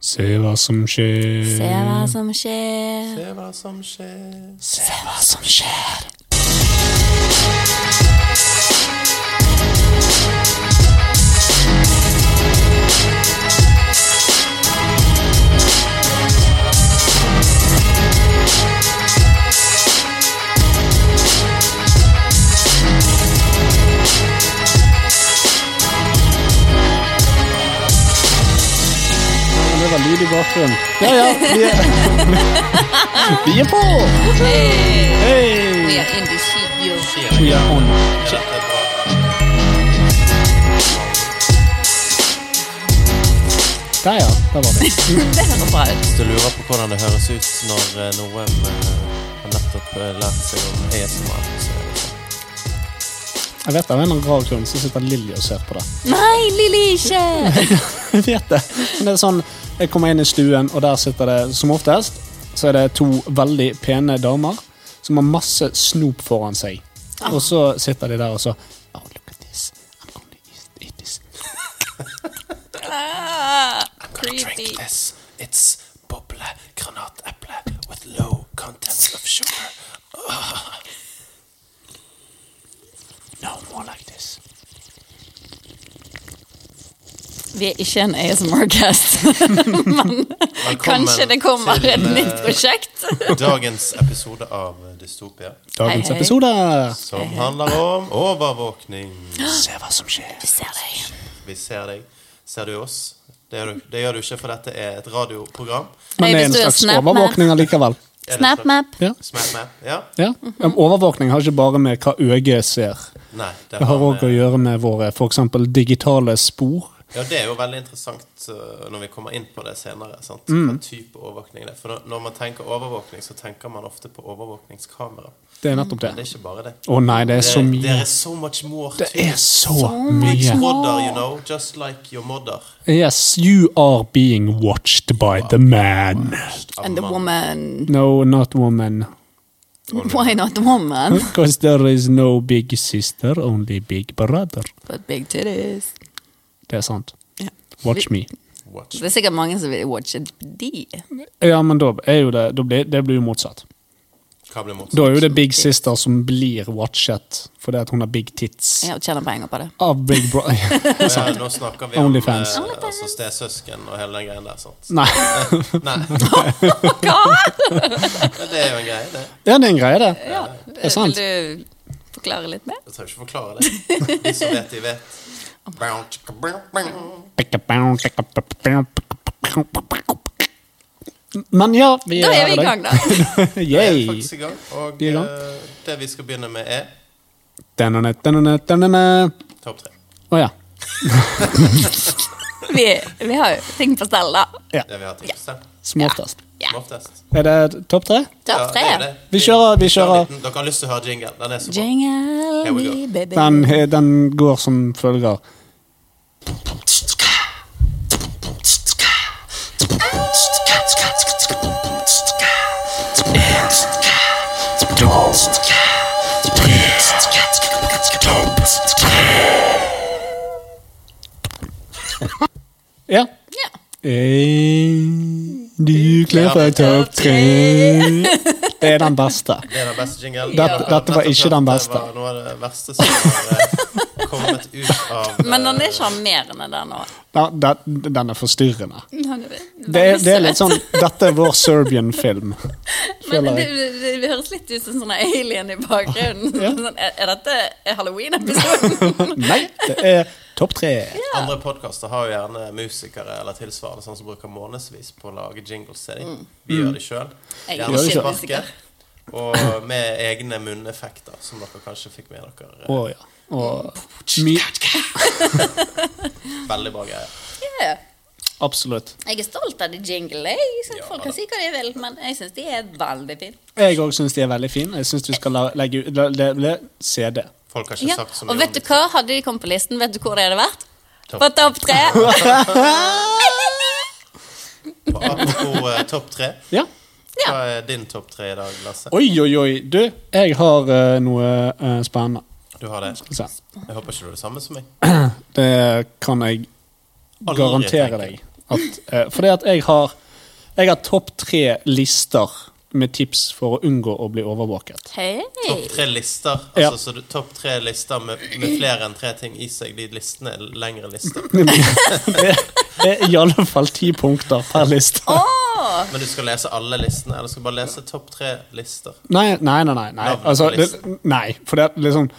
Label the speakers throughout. Speaker 1: Se hva som skjer.
Speaker 2: Se hva som skjer.
Speaker 3: Se hva som skjer.
Speaker 2: Se hva som skjer.
Speaker 1: Det var lyd i bakgrunnen.
Speaker 3: Ja, ja, vi er, vi er på!
Speaker 1: Hey!
Speaker 2: We are in the studio.
Speaker 1: We are on. Der, ja. Der var det.
Speaker 2: Det høres bra ut.
Speaker 3: Hvis du lurer på hvordan det høres ut når eh, noen eh, har nettopp eh, lært seg om ASMR, så er det sånn.
Speaker 1: Jeg vet av en rar grunn så sitter Lilly og ser på det.
Speaker 2: Nei, Lilly, ikke!
Speaker 1: Jeg vet det. Men det er sånn, jeg kommer inn i stuen, og der sitter det som oftest så er det to veldig pene damer som har masse snop foran seg. Og så sitter de der og så Oh, look at this. I'm gonna eat- eat this.
Speaker 2: Ah, creepy.
Speaker 3: Drink this. It's boble granateple with low content of sugar.
Speaker 1: No more like this.
Speaker 2: Vi er ikke en ASMR-cast.
Speaker 3: Velkommen
Speaker 2: Kanskje det kommer
Speaker 3: til,
Speaker 2: et
Speaker 3: eh,
Speaker 2: nytt prosjekt.
Speaker 3: Dagens episode av Dystopia,
Speaker 1: Dagens
Speaker 2: Hei, hei.
Speaker 1: episode.
Speaker 2: Eh.
Speaker 3: som handler om overvåkning.
Speaker 1: Se hva som skjer.
Speaker 2: Vi ser deg.
Speaker 3: Vi ser deg. Ser du oss? Det gjør du, det gjør du ikke, for dette er et radioprogram.
Speaker 1: Men det
Speaker 2: Hei,
Speaker 1: er
Speaker 2: hvis
Speaker 1: en
Speaker 2: du er
Speaker 1: slags
Speaker 2: snap,
Speaker 1: overvåkning allikevel.
Speaker 3: Er det slags-
Speaker 2: Snapmap.
Speaker 1: Ja.
Speaker 3: Smack map, ja?
Speaker 1: Ja.
Speaker 2: Mm-hmm.
Speaker 1: Men Um, Overvåkning har ikke bare med hva øyet ser.
Speaker 3: Nei, det eh,
Speaker 1: Det har
Speaker 3: var
Speaker 1: òg å
Speaker 3: med-
Speaker 1: gjøre med våre f.eks. digitale spor.
Speaker 3: Ja, det er jo veldig interessant øh, når vi kommer inn på det senere. Sant?
Speaker 1: Mm.
Speaker 3: Hva type overvåkning det er. For når- når man tenker overvåkning, så tenker man ofte på overvåkningskamera.
Speaker 1: Det er nettopp det.
Speaker 3: Det er ikke bare det.
Speaker 1: Å nei, det er så
Speaker 3: There
Speaker 1: mye.
Speaker 3: is so much more
Speaker 1: Det
Speaker 3: to
Speaker 1: er
Speaker 3: it.
Speaker 1: så
Speaker 2: much
Speaker 1: mye.
Speaker 3: Mother, you know. Just like your mother.
Speaker 1: Yes, you are being watched by the man.
Speaker 3: av
Speaker 2: And the
Speaker 3: mann.
Speaker 2: woman.
Speaker 1: No, not woman.
Speaker 2: Why not woman?
Speaker 1: Because there is no big sister, only big brother.
Speaker 2: But big titties.
Speaker 1: Det er sant.
Speaker 2: Ja.
Speaker 1: Watch me.
Speaker 3: Watch.
Speaker 2: Det er sikkert mange som vil watche de.
Speaker 1: Ja, men da er jo det, da blir, det blir jo motsatt.
Speaker 3: Hva blir motsatt?
Speaker 1: Da er jo det big sister som blir watchet fordi at hun har big tits.
Speaker 2: Ja, og tjener penger på det.
Speaker 1: Av big bro...
Speaker 3: Ja, nå snakker vi om
Speaker 1: Onlyfans.
Speaker 3: eh, altså stesøsken og hele den greien der. Sant?
Speaker 1: Nei.
Speaker 3: Nei, men det er jo en greie, det.
Speaker 1: Ja, det er en greie, det. Det er sant.
Speaker 2: Vil du forklare litt mer?
Speaker 3: Jeg trenger ikke forklare det. De som vet, de vet. Bow, chicka, bow, bow.
Speaker 1: Men ja, vi
Speaker 2: Da er
Speaker 1: her
Speaker 2: vi i gang, da.
Speaker 1: dag.
Speaker 3: Vi er
Speaker 1: Yay.
Speaker 3: faktisk i gang, og
Speaker 1: Vi er i gang.
Speaker 3: eh, det vi skal begynne med, er
Speaker 1: Danone, danone, danone.
Speaker 3: topp tre.
Speaker 1: Å ja.
Speaker 2: Vi, vi har jo ting på stell, da.
Speaker 3: Det vi har til oss.
Speaker 1: Som oftest.
Speaker 2: Ja.
Speaker 3: Oftest.
Speaker 1: Er det topp tre?
Speaker 2: Topp
Speaker 3: Ja, det er
Speaker 2: tre.
Speaker 3: det.
Speaker 1: Vi kjører- vi kjører-
Speaker 3: liten- Dere har lyst til å høre jingle. Den er så bra.
Speaker 2: Jingle
Speaker 3: Here we go.
Speaker 2: me, baby.
Speaker 1: Den, den går som følger. Ja.
Speaker 2: Ja.
Speaker 1: Eh, Du kler for topp tre. Det er den beste.
Speaker 3: Det er den beste jingle.
Speaker 1: Dette- dette var ikke den beste.
Speaker 3: Det var noe av det verste som har eh, kommet ut av
Speaker 2: Men den er
Speaker 3: eh,
Speaker 2: sjarmerende, den òg.
Speaker 1: Ja, den- Den er forstyrrende. Det er,
Speaker 2: Det,
Speaker 1: det er litt sånn Dette er vår Serbian-film.
Speaker 2: Men
Speaker 1: føler
Speaker 2: det,
Speaker 1: jeg.
Speaker 2: det, det høres litt ut som sånne alien i bakgrunnen.
Speaker 1: Ja.
Speaker 2: Sånn, er, er dette halloween-episoden?
Speaker 1: Nei, det er topp tre.
Speaker 3: Andre podkaster har jo gjerne musikere eller tilsvarende sånn som bruker månedsvis på å lage jingles til dem. Vi gjør det sjøl.
Speaker 2: Mm. Jeg
Speaker 3: Gjerne
Speaker 1: er ikke
Speaker 3: sparket. Og med egne munneffekter, som dere kanskje fikk med dere. eh,
Speaker 1: Å ja. Og my,
Speaker 3: Veldig bra greier.
Speaker 2: Ja.
Speaker 1: absolutt.
Speaker 2: Jeg er stolt av de jinglene. Jeg synes
Speaker 3: Ja,
Speaker 2: Folk
Speaker 3: da.
Speaker 2: kan si hva de vil, men jeg syns de er veldig fine.
Speaker 1: Jeg òg syns de er veldig fine. Jeg syns du skal la, legge ut la, la, la, CD.
Speaker 3: Folk har ikke
Speaker 2: Ja.
Speaker 3: sagt så mye
Speaker 2: Og vet du
Speaker 3: om
Speaker 2: hva? Hadde de kommet på listen, vet du hvor det hadde vært?
Speaker 3: Topp.
Speaker 2: På topp tre.
Speaker 3: det. Og Apropos eh, topp tre.
Speaker 1: Ja.
Speaker 2: Ja.
Speaker 3: Hva er din topp tre i dag, Lasse?
Speaker 1: Oi, oi, oi. Du, jeg har eh, noe eh, spennende.
Speaker 3: Du har det.
Speaker 1: Skal vi se.
Speaker 3: Jeg håper ikke du er det samme som meg.
Speaker 1: Det kan jeg
Speaker 3: Aldri
Speaker 1: garantere
Speaker 3: tenker.
Speaker 1: deg. At, eh, fordi at jeg har, jeg har topp tre lister med tips for å unngå å bli overvåket.
Speaker 2: Hei.
Speaker 3: Topp tre lister. Altså,
Speaker 1: Ja.
Speaker 3: så du, topp tre lister med, med flere enn tre ting i seg. De listene er lengre lister.
Speaker 1: Det er i alle fall ti punkter per liste.
Speaker 2: Åh,
Speaker 3: Men du skal lese alle listene, eller skal du bare lese topp tre lister?
Speaker 1: Nei, nei, nei. nei, nei.
Speaker 3: Navnet på
Speaker 1: Altså, det,
Speaker 3: listen.
Speaker 1: nei for det er liksom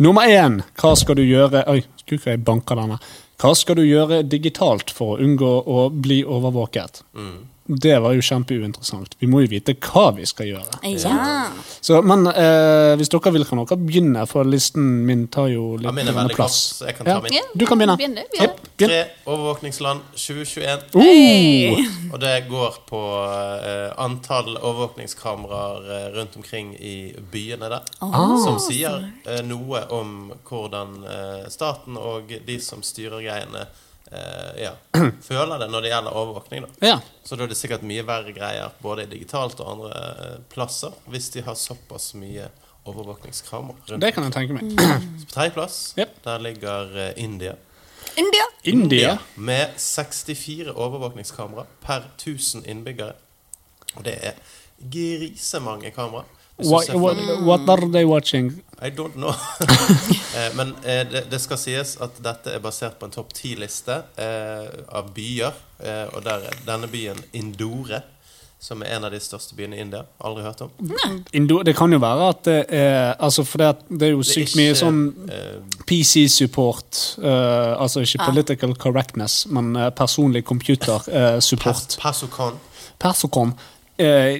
Speaker 1: Nummer én, hva skal du gjøre Oi, skulle ikke jeg banka denne. Hva skal du gjøre digitalt for å unngå å bli overvåket?
Speaker 3: Mm.
Speaker 1: Det var jo kjempeuinteressant. Vi må jo vite hva vi skal gjøre.
Speaker 2: ja.
Speaker 1: Så, men eh, hvis dere vil, kan dere begynne, for listen min tar jo litt
Speaker 3: Ja, min er
Speaker 1: grann
Speaker 3: veldig
Speaker 1: plass.
Speaker 3: kort, så jeg kan ta min.
Speaker 2: Ja,
Speaker 1: Du kan begynne.
Speaker 2: begynn du, begynn.
Speaker 1: Jep, begynn. Oh!
Speaker 3: Tre overvåkningsland 2021.
Speaker 2: Hei.
Speaker 3: Og det går på eh, antall overvåkningskameraer eh, rundt omkring i byene der. som sier eh, noe om hvordan eh, staten og de som styrer greiene, eh, ja, føler det når det gjelder overvåkning. da.
Speaker 1: Ja.
Speaker 3: Så da er det sikkert mye verre greier både digitalt og andre eh, plasser hvis de har såpass mye overvåkningskamera. rundt.
Speaker 1: Det kan jeg tenke meg.
Speaker 3: Så På tredjeplass
Speaker 1: Yep.
Speaker 3: der ligger eh, India.
Speaker 2: India.
Speaker 1: India.
Speaker 3: Med 64 overvåkningskamera per 1000 innbyggere. Og det er grisemange kamera. Hvis du
Speaker 1: Why,
Speaker 3: ser for
Speaker 1: what, what are they watching?
Speaker 3: i don't know. Eh, Men eh, det, det skal sies at dette er basert på en topp ti-liste eh, av byer. Eh, og der er denne byen Indore, som er en av de største byene i India. Aldri hørt om. Det
Speaker 1: Indo, det kan jo være at det er altså For det, at det er jo
Speaker 3: er
Speaker 1: sykt
Speaker 3: ikke,
Speaker 1: mye sånn
Speaker 3: eh,
Speaker 1: PC-support, eh, altså ikke political correctness, men eh, personlig
Speaker 3: Pas
Speaker 1: computer-support.
Speaker 3: Pasokon.
Speaker 1: Persocom eh,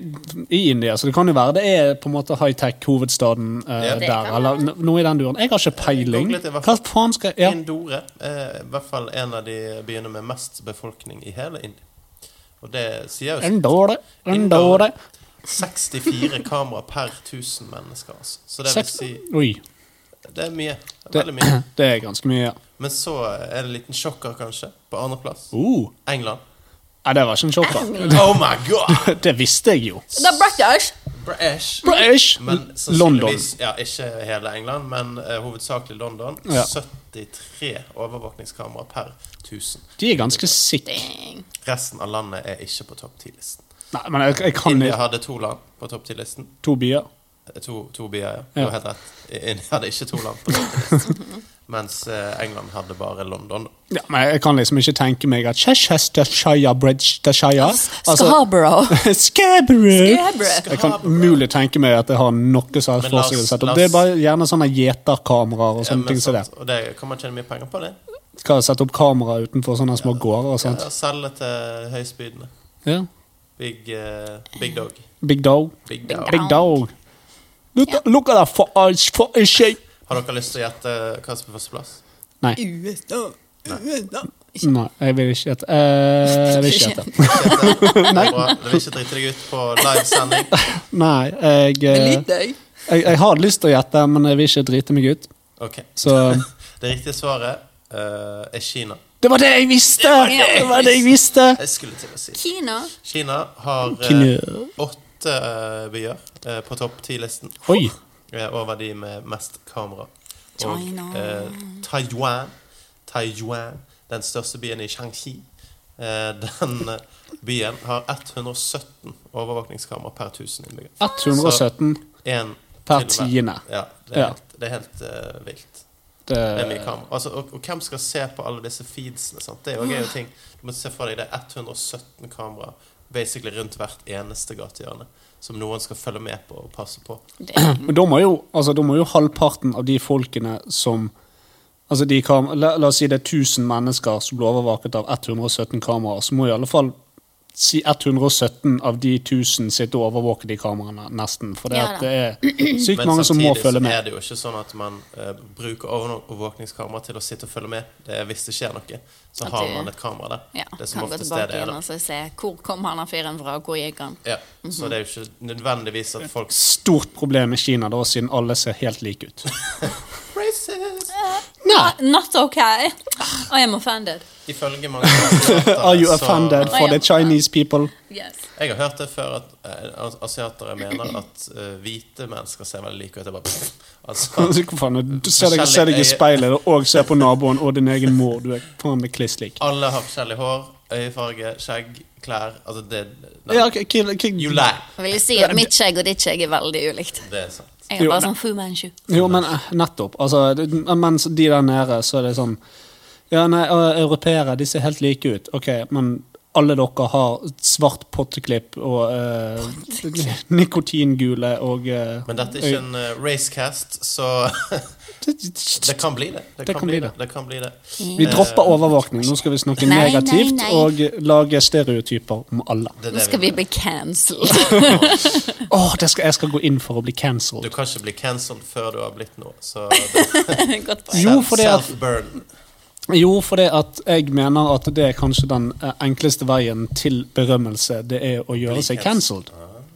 Speaker 1: i India, så det kan jo være det er på en måte high-tech-hovedstaden eh,
Speaker 3: Ja. Det
Speaker 2: kan
Speaker 1: der, eller no- noe i den duren. Jeg har ikke peiling.
Speaker 3: Googlet det i hvert
Speaker 1: Hva
Speaker 3: fall.
Speaker 1: faen skal ja.
Speaker 3: Indore er i hvert fall en av de byene med mest befolkning i hele India. Og det sier jo
Speaker 1: Indore, Indore
Speaker 3: 64 kamera per 1000 mennesker. Altså. Så det vil
Speaker 1: Seks-
Speaker 3: si
Speaker 1: Oi.
Speaker 3: Det er mye. Det er
Speaker 1: Det,
Speaker 3: veldig mye.
Speaker 1: det er ganske mye. ja.
Speaker 3: Men så er det en liten sjokker, kanskje, på andreplass.
Speaker 1: Uh.
Speaker 3: England.
Speaker 1: Nei, det var ikke en sjokker.
Speaker 3: Oh my god!
Speaker 1: Det visste jeg jo.
Speaker 2: The British.
Speaker 3: British.
Speaker 1: British!
Speaker 3: Men
Speaker 1: London.
Speaker 3: sannsynligvis Ja, ikke hele England, men eh, hovedsakelig London.
Speaker 1: Ja.
Speaker 3: 73 overvåkningskamera per 1000.
Speaker 1: De er ganske sikre.
Speaker 2: Dang.
Speaker 3: Resten av landet er ikke på topp 10-listen.
Speaker 1: Nei, men jeg, jeg kan
Speaker 3: India
Speaker 1: ikke
Speaker 3: hadde to land på topp 10-listen.
Speaker 1: to byer.
Speaker 3: Eh, To, to byer,
Speaker 1: Ja.
Speaker 3: ja. Du har helt rett. India hadde ikke to land på topp 10-listen. Mens eh, England hadde bare London.
Speaker 1: Ja, men jeg kan liksom ikke tenke meg at Cheshire Bridge Cheshire altså,
Speaker 2: Scarborough.
Speaker 1: Scarborough!
Speaker 2: Scarborough.
Speaker 1: Jeg kan umulig tenke meg at jeg har noe som helst
Speaker 3: Men la
Speaker 1: for
Speaker 3: oss-
Speaker 1: seg å sette
Speaker 3: la
Speaker 1: opp.
Speaker 3: oss-
Speaker 1: Det er bare gjerne sånne gjeterkameraer og
Speaker 3: Ja, men
Speaker 1: sånne ting som det.
Speaker 3: sant, og det kan man tjene mye penger på, det.
Speaker 1: Skal sette opp kamera utenfor sånne små gårder og
Speaker 3: Ja,
Speaker 1: sånt.
Speaker 3: selge til høystbydende.
Speaker 1: Ja.
Speaker 3: Big, eh, big dog.
Speaker 1: Big dog.
Speaker 3: Big
Speaker 2: Big
Speaker 3: dog.
Speaker 2: dog.
Speaker 1: Big dog. Look, look at that for us, for a shape.
Speaker 3: Har dere lyst til å gjette eh, hva som er førsteplass?
Speaker 1: Nei,
Speaker 2: USA. USA.
Speaker 1: nei, jeg vil ikke gjette. Eh, jeg vil ikke gjette.
Speaker 3: Nei. Du vil ikke drite deg ut på livesending?
Speaker 1: Nei, jeg, eh,
Speaker 2: deg.
Speaker 1: jeg, jeg har lyst til å gjette, men jeg vil ikke drite meg ut.
Speaker 3: Ok.
Speaker 1: Så
Speaker 3: Det riktige svaret eh, er Kina.
Speaker 1: Det var det jeg visste! Det var det jeg visste!
Speaker 3: Jeg skulle til å si det.
Speaker 2: Kina.
Speaker 3: Kina har eh,
Speaker 1: Kina.
Speaker 3: åtte eh, byer eh, på topp ti-listen
Speaker 1: Oi!
Speaker 3: over de med mest kamera. Og
Speaker 2: China.
Speaker 3: eh, Taiwan Taiwan, den største byen i Shanxi. Eh, den eh, byen har 117 overvåkningskamera per 1000 innbyggere.
Speaker 1: 117
Speaker 3: En
Speaker 1: per
Speaker 3: til hver.
Speaker 1: tiende.
Speaker 3: Ja, det er
Speaker 1: Ja.
Speaker 3: helt, det er helt eh, vilt. Det er mye
Speaker 1: Det,
Speaker 3: kamera. Altså, og, og hvem skal se på alle disse feedsene? Sant? Det er jo gøy ting. Du må se for deg det er 117 kamera basically rundt hvert eneste gatehjørne som noen skal følge med på og passe på.
Speaker 2: Dang.
Speaker 1: men da må, jo, altså, da må jo halvparten av de folkene som Altså de kam la, la oss si det er 1000 mennesker som blir overvåket av 117 kameraer, så må i alle fall si 117 av de 1000 sitte og overvåke de kameraene, nesten. For det,
Speaker 2: Ja
Speaker 1: at
Speaker 2: da.
Speaker 1: det er sykt
Speaker 3: Men
Speaker 1: mange som må
Speaker 3: samtidig
Speaker 1: følge
Speaker 3: så er
Speaker 1: med.
Speaker 3: det jo ikke sånn at man eh, bruker overvåkningskamera til å sitte og følge med. Det er hvis det skjer noe, så
Speaker 2: At
Speaker 3: har
Speaker 2: det-
Speaker 3: man et kamera der.
Speaker 2: Ja,
Speaker 3: det er
Speaker 2: kan
Speaker 3: som
Speaker 2: gå
Speaker 3: oftest det
Speaker 2: tilbake
Speaker 3: det er.
Speaker 2: igjen
Speaker 3: Da.
Speaker 2: og så se hvor kom han av fyren fra, og hvor gikk han.
Speaker 3: Ja. Så
Speaker 2: Mhm.
Speaker 3: det er jo ikke nødvendigvis at folk
Speaker 1: Stort problem i Kina, da, siden alle ser helt like ut.
Speaker 3: Racist!
Speaker 1: Nei!
Speaker 2: Not okay. I am offended.
Speaker 3: Ifølge mange
Speaker 1: Are you
Speaker 3: så-
Speaker 1: offended for the Chinese people?
Speaker 2: Yes.
Speaker 3: Jeg har hørt det før at eh, as- asiatere mener at eh, hvite mennesker ser veldig like ut. Jeg bare, altså,
Speaker 1: Hva faen, du ser deg, ser deg i speilet og ser på naboen og din egen mor. Du er faen meg kliss lik.
Speaker 3: alle har forskjellig hår, øyefarge, skjegg, klær Altså, det nei.
Speaker 1: Ja, ok, kill- kill-
Speaker 3: You lie.
Speaker 2: Jeg vil si at mitt skjegg og ditt skjegg er veldig ulikt.
Speaker 3: Det er sant.
Speaker 2: Jeg er
Speaker 1: Jo,
Speaker 2: bare
Speaker 1: nei.
Speaker 2: sånn Fu Manchu.
Speaker 1: Jo, men eh, nettopp. Altså, det- mens de der nede, så er det sånn Ja, nei, og europeere, de ser helt like ut. Ok, men alle dere har svart potteklipp og eh, nikotingule og eh,
Speaker 3: Men dette er ikke en eh, racecast, så det kan bli det. Det kan bli det. det, kan bli det.
Speaker 2: Mm.
Speaker 1: Vi
Speaker 3: Eh,
Speaker 1: dropper overvåkning. Nå skal vi snakke
Speaker 2: Nei, nei,
Speaker 1: negativt
Speaker 2: nei.
Speaker 1: og lage stereotyper om alle.
Speaker 3: Det er
Speaker 2: Nå
Speaker 3: det
Speaker 2: skal
Speaker 3: vi
Speaker 2: vi
Speaker 3: må.
Speaker 2: bli cancelled.
Speaker 1: Åh, det skal, jeg skal gå inn for å bli
Speaker 3: Du
Speaker 1: cancelled.
Speaker 3: kan ikke bli cancelled før du har blitt noe. Så det-
Speaker 2: Godt poeng.
Speaker 1: Jo, fordi at-
Speaker 3: self-burn.
Speaker 1: Jo, fordi at jeg mener at det er kanskje den eh, enkleste veien til berømmelse. Det er å gjøre seg cancelled.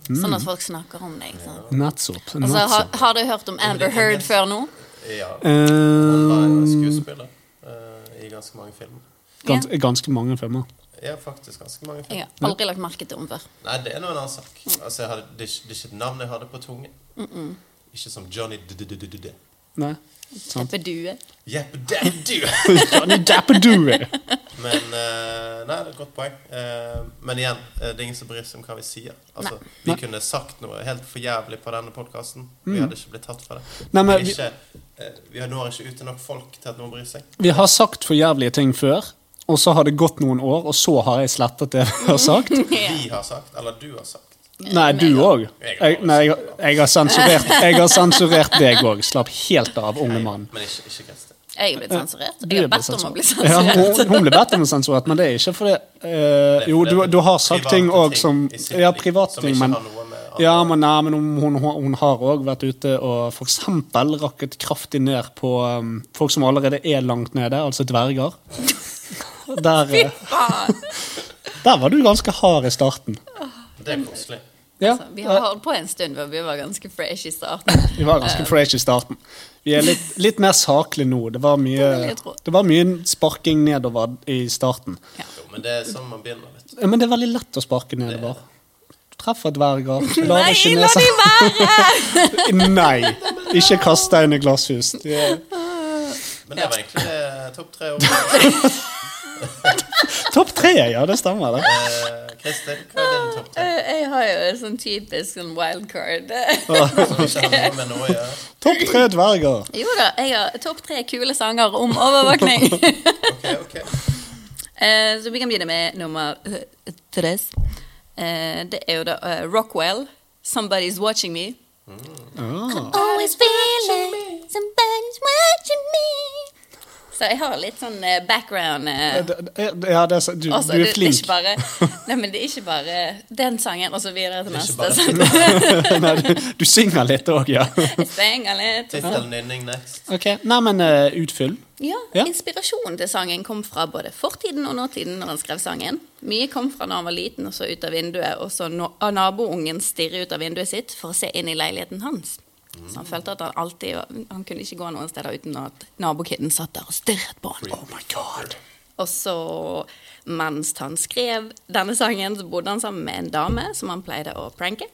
Speaker 1: Mm.
Speaker 2: Sånn at folk snakker om deg. ikke sant?
Speaker 1: Nettopp.
Speaker 2: Altså, har,
Speaker 1: nettopp.
Speaker 2: har du hørt om Amber Heard før nå?
Speaker 3: Ja. Han var jo
Speaker 1: Eh,
Speaker 3: skuespiller eh, i ganske mange filmer.
Speaker 1: Gans, Ganske mange filmer.
Speaker 3: Ja, faktisk ganske mange filmer.
Speaker 2: Jeg har aldri lagt merke til henne før.
Speaker 3: Nei, det er nå en annen sak.
Speaker 2: Mm.
Speaker 3: Altså, jeg hadde, det, er ikke- det er ikke et navn jeg hadde på tungen. Ikke som Johnny D-D-D-D-D.
Speaker 1: Nei.
Speaker 2: Teppe due.
Speaker 3: Jeppe Daddu!
Speaker 1: Johnny Dappadoo!
Speaker 3: Men eh, Nei, det er et godt poeng. Eh, men igjen, eh, det er ingen som bryr seg om hva vi sier. Altså, Vi
Speaker 1: Nei. Mm.
Speaker 3: kunne sagt noe helt for jævlig på denne podkasten. Vi hadde ikke blitt tatt for det.
Speaker 1: Nei, men
Speaker 3: vi,
Speaker 1: vi-
Speaker 3: er ikke, eh, vi når ikke ut til nok folk til at noen bryr seg.
Speaker 1: Vi har sagt for jævlige ting før, og så har det gått noen år, og så har jeg slettet det vi har sagt.
Speaker 3: Vi har sagt, eller du har sagt.
Speaker 1: Nei, du òg.
Speaker 3: Jeg har
Speaker 1: Jeg, nei, jeg, jeg har sensurert Jeg har sensurert deg òg. Slapp helt av, unge mann.
Speaker 3: Men ikke, ikke Kristin.
Speaker 2: Jeg er blitt sensurert.
Speaker 1: Du
Speaker 2: Jeg
Speaker 1: er
Speaker 2: har bedt om å
Speaker 1: sensurert.
Speaker 2: bli
Speaker 1: Ja,
Speaker 2: sensurert.
Speaker 1: hun, hun ble bedt om å sensurere, men det er ikke fordi eh, Jo, du, du har sagt
Speaker 3: Private
Speaker 1: ting òg som
Speaker 3: i sitt
Speaker 1: Ja,
Speaker 3: liv,
Speaker 1: private
Speaker 3: som
Speaker 1: ting,
Speaker 3: ikke
Speaker 1: men
Speaker 3: har noe med andre-
Speaker 1: Ja, men, nei, men hun, hun, hun har òg vært ute og f.eks. rakket kraftig ned på um, folk som allerede er langt nede, altså dverger. Der, eh,
Speaker 2: Faen.
Speaker 1: der var du ganske hard i starten.
Speaker 3: Det er koselig.
Speaker 1: Ja,
Speaker 2: Altså, Vi har holdt på en stund hvor vi var ganske fresh i starten.
Speaker 1: vi var ganske fresh i starten. Vi er litt, litt mer saklige nå. Det var,
Speaker 2: vil
Speaker 1: mye,
Speaker 2: jeg tro.
Speaker 1: det var mye sparking nedover i starten.
Speaker 3: Jo, men det er sånn man begynner, vet du.
Speaker 1: Ja, Men det er veldig lett å sparke nedover. Treffer dverger,
Speaker 2: Nei,
Speaker 1: lar
Speaker 2: la de
Speaker 1: kineser
Speaker 2: være!
Speaker 1: Nei! Ikke kast stein i glasshus. Det er
Speaker 3: Men det var egentlig eh, topp tre ord.
Speaker 1: Topp tre, ja. Det stemmer, det.
Speaker 3: Eh, Kristin, hva er din topp tre?
Speaker 2: Jeg har jo et sånn typisk sånn wildcard.
Speaker 3: Som ikke har noe med noe å gjøre.
Speaker 1: Topp tre dverger.
Speaker 2: Jo da, jeg har topp tre kule sanger om overvåkning.
Speaker 3: Ok, ok.
Speaker 2: Eh, Så vi kan begynne med nummer eh, tres. Eh, Det er jo da eh, Rockwell, 'Somebody's Watching Me'.
Speaker 1: Ah.
Speaker 4: always feeling somebody's watching me.
Speaker 2: Så jeg har litt sånn eh, background. eh,
Speaker 1: Ja, det- det- Ja, det er, så- du,
Speaker 2: Altså,
Speaker 1: du
Speaker 2: det,
Speaker 1: er
Speaker 2: det er
Speaker 1: flink.
Speaker 2: ikke bare, nei, men det er ikke bare den sangen, og så videre til
Speaker 3: Det er ikke
Speaker 2: neste.
Speaker 3: bare-
Speaker 2: Så
Speaker 1: Nei, du, du synger litt òg, ja.
Speaker 2: jeg stenger litt.
Speaker 3: Tittel nynning next.
Speaker 1: Ok, Nei, men eh, utfyll.
Speaker 2: Ja,
Speaker 1: Ja.
Speaker 2: Inspirasjonen til sangen kom fra både fortiden og nåtiden når han skrev sangen. Mye kom fra da han var liten og så ut av vinduet, og så nå- av naboungen stirre ut av vinduet sitt for å se inn i leiligheten hans. Så han følte at han alltid var- Han kunne ikke gå noen steder uten at nabokiden satt der og stirret på han.
Speaker 1: Oh my god.
Speaker 2: Og så, mens han skrev denne sangen, så bodde han sammen med en dame som han pleide å pranke.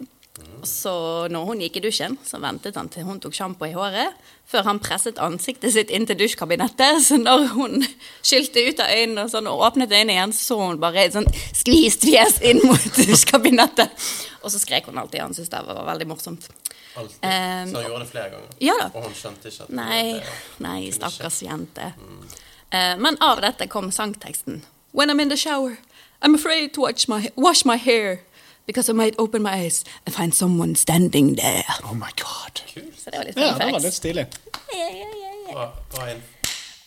Speaker 2: Og så, når hun gikk i dusjen, så ventet han til hun tok sjampo i håret, før han presset ansiktet sitt inn til dusjkabinettet. Så når hun skylte ut av øynene og, sånn, og åpnet øynene igjen, så hun bare et sånn skvist fjes inn mot dusjkabinettet. Og så skrek hun alltid. Han syntes det var veldig morsomt.
Speaker 3: Alltid.
Speaker 2: Ehm,
Speaker 3: Så han gjorde det flere ganger.
Speaker 2: Ja da.
Speaker 3: Og hun skjønte ikke at
Speaker 2: Nei,
Speaker 3: det
Speaker 2: nei,
Speaker 3: kunne skje.
Speaker 2: stakkars jente. Eh, men av dette kom sangteksten. When I'm in the shower, I'm afraid to watch my, wash my hair. Because I might open my eyes and find someone standing there.
Speaker 1: Oh my god.
Speaker 2: Så det var litt fun
Speaker 1: Ja, det var
Speaker 2: facts.
Speaker 1: litt stilig.
Speaker 2: Ja, ja, ja, ja.
Speaker 3: Bra, bra inn.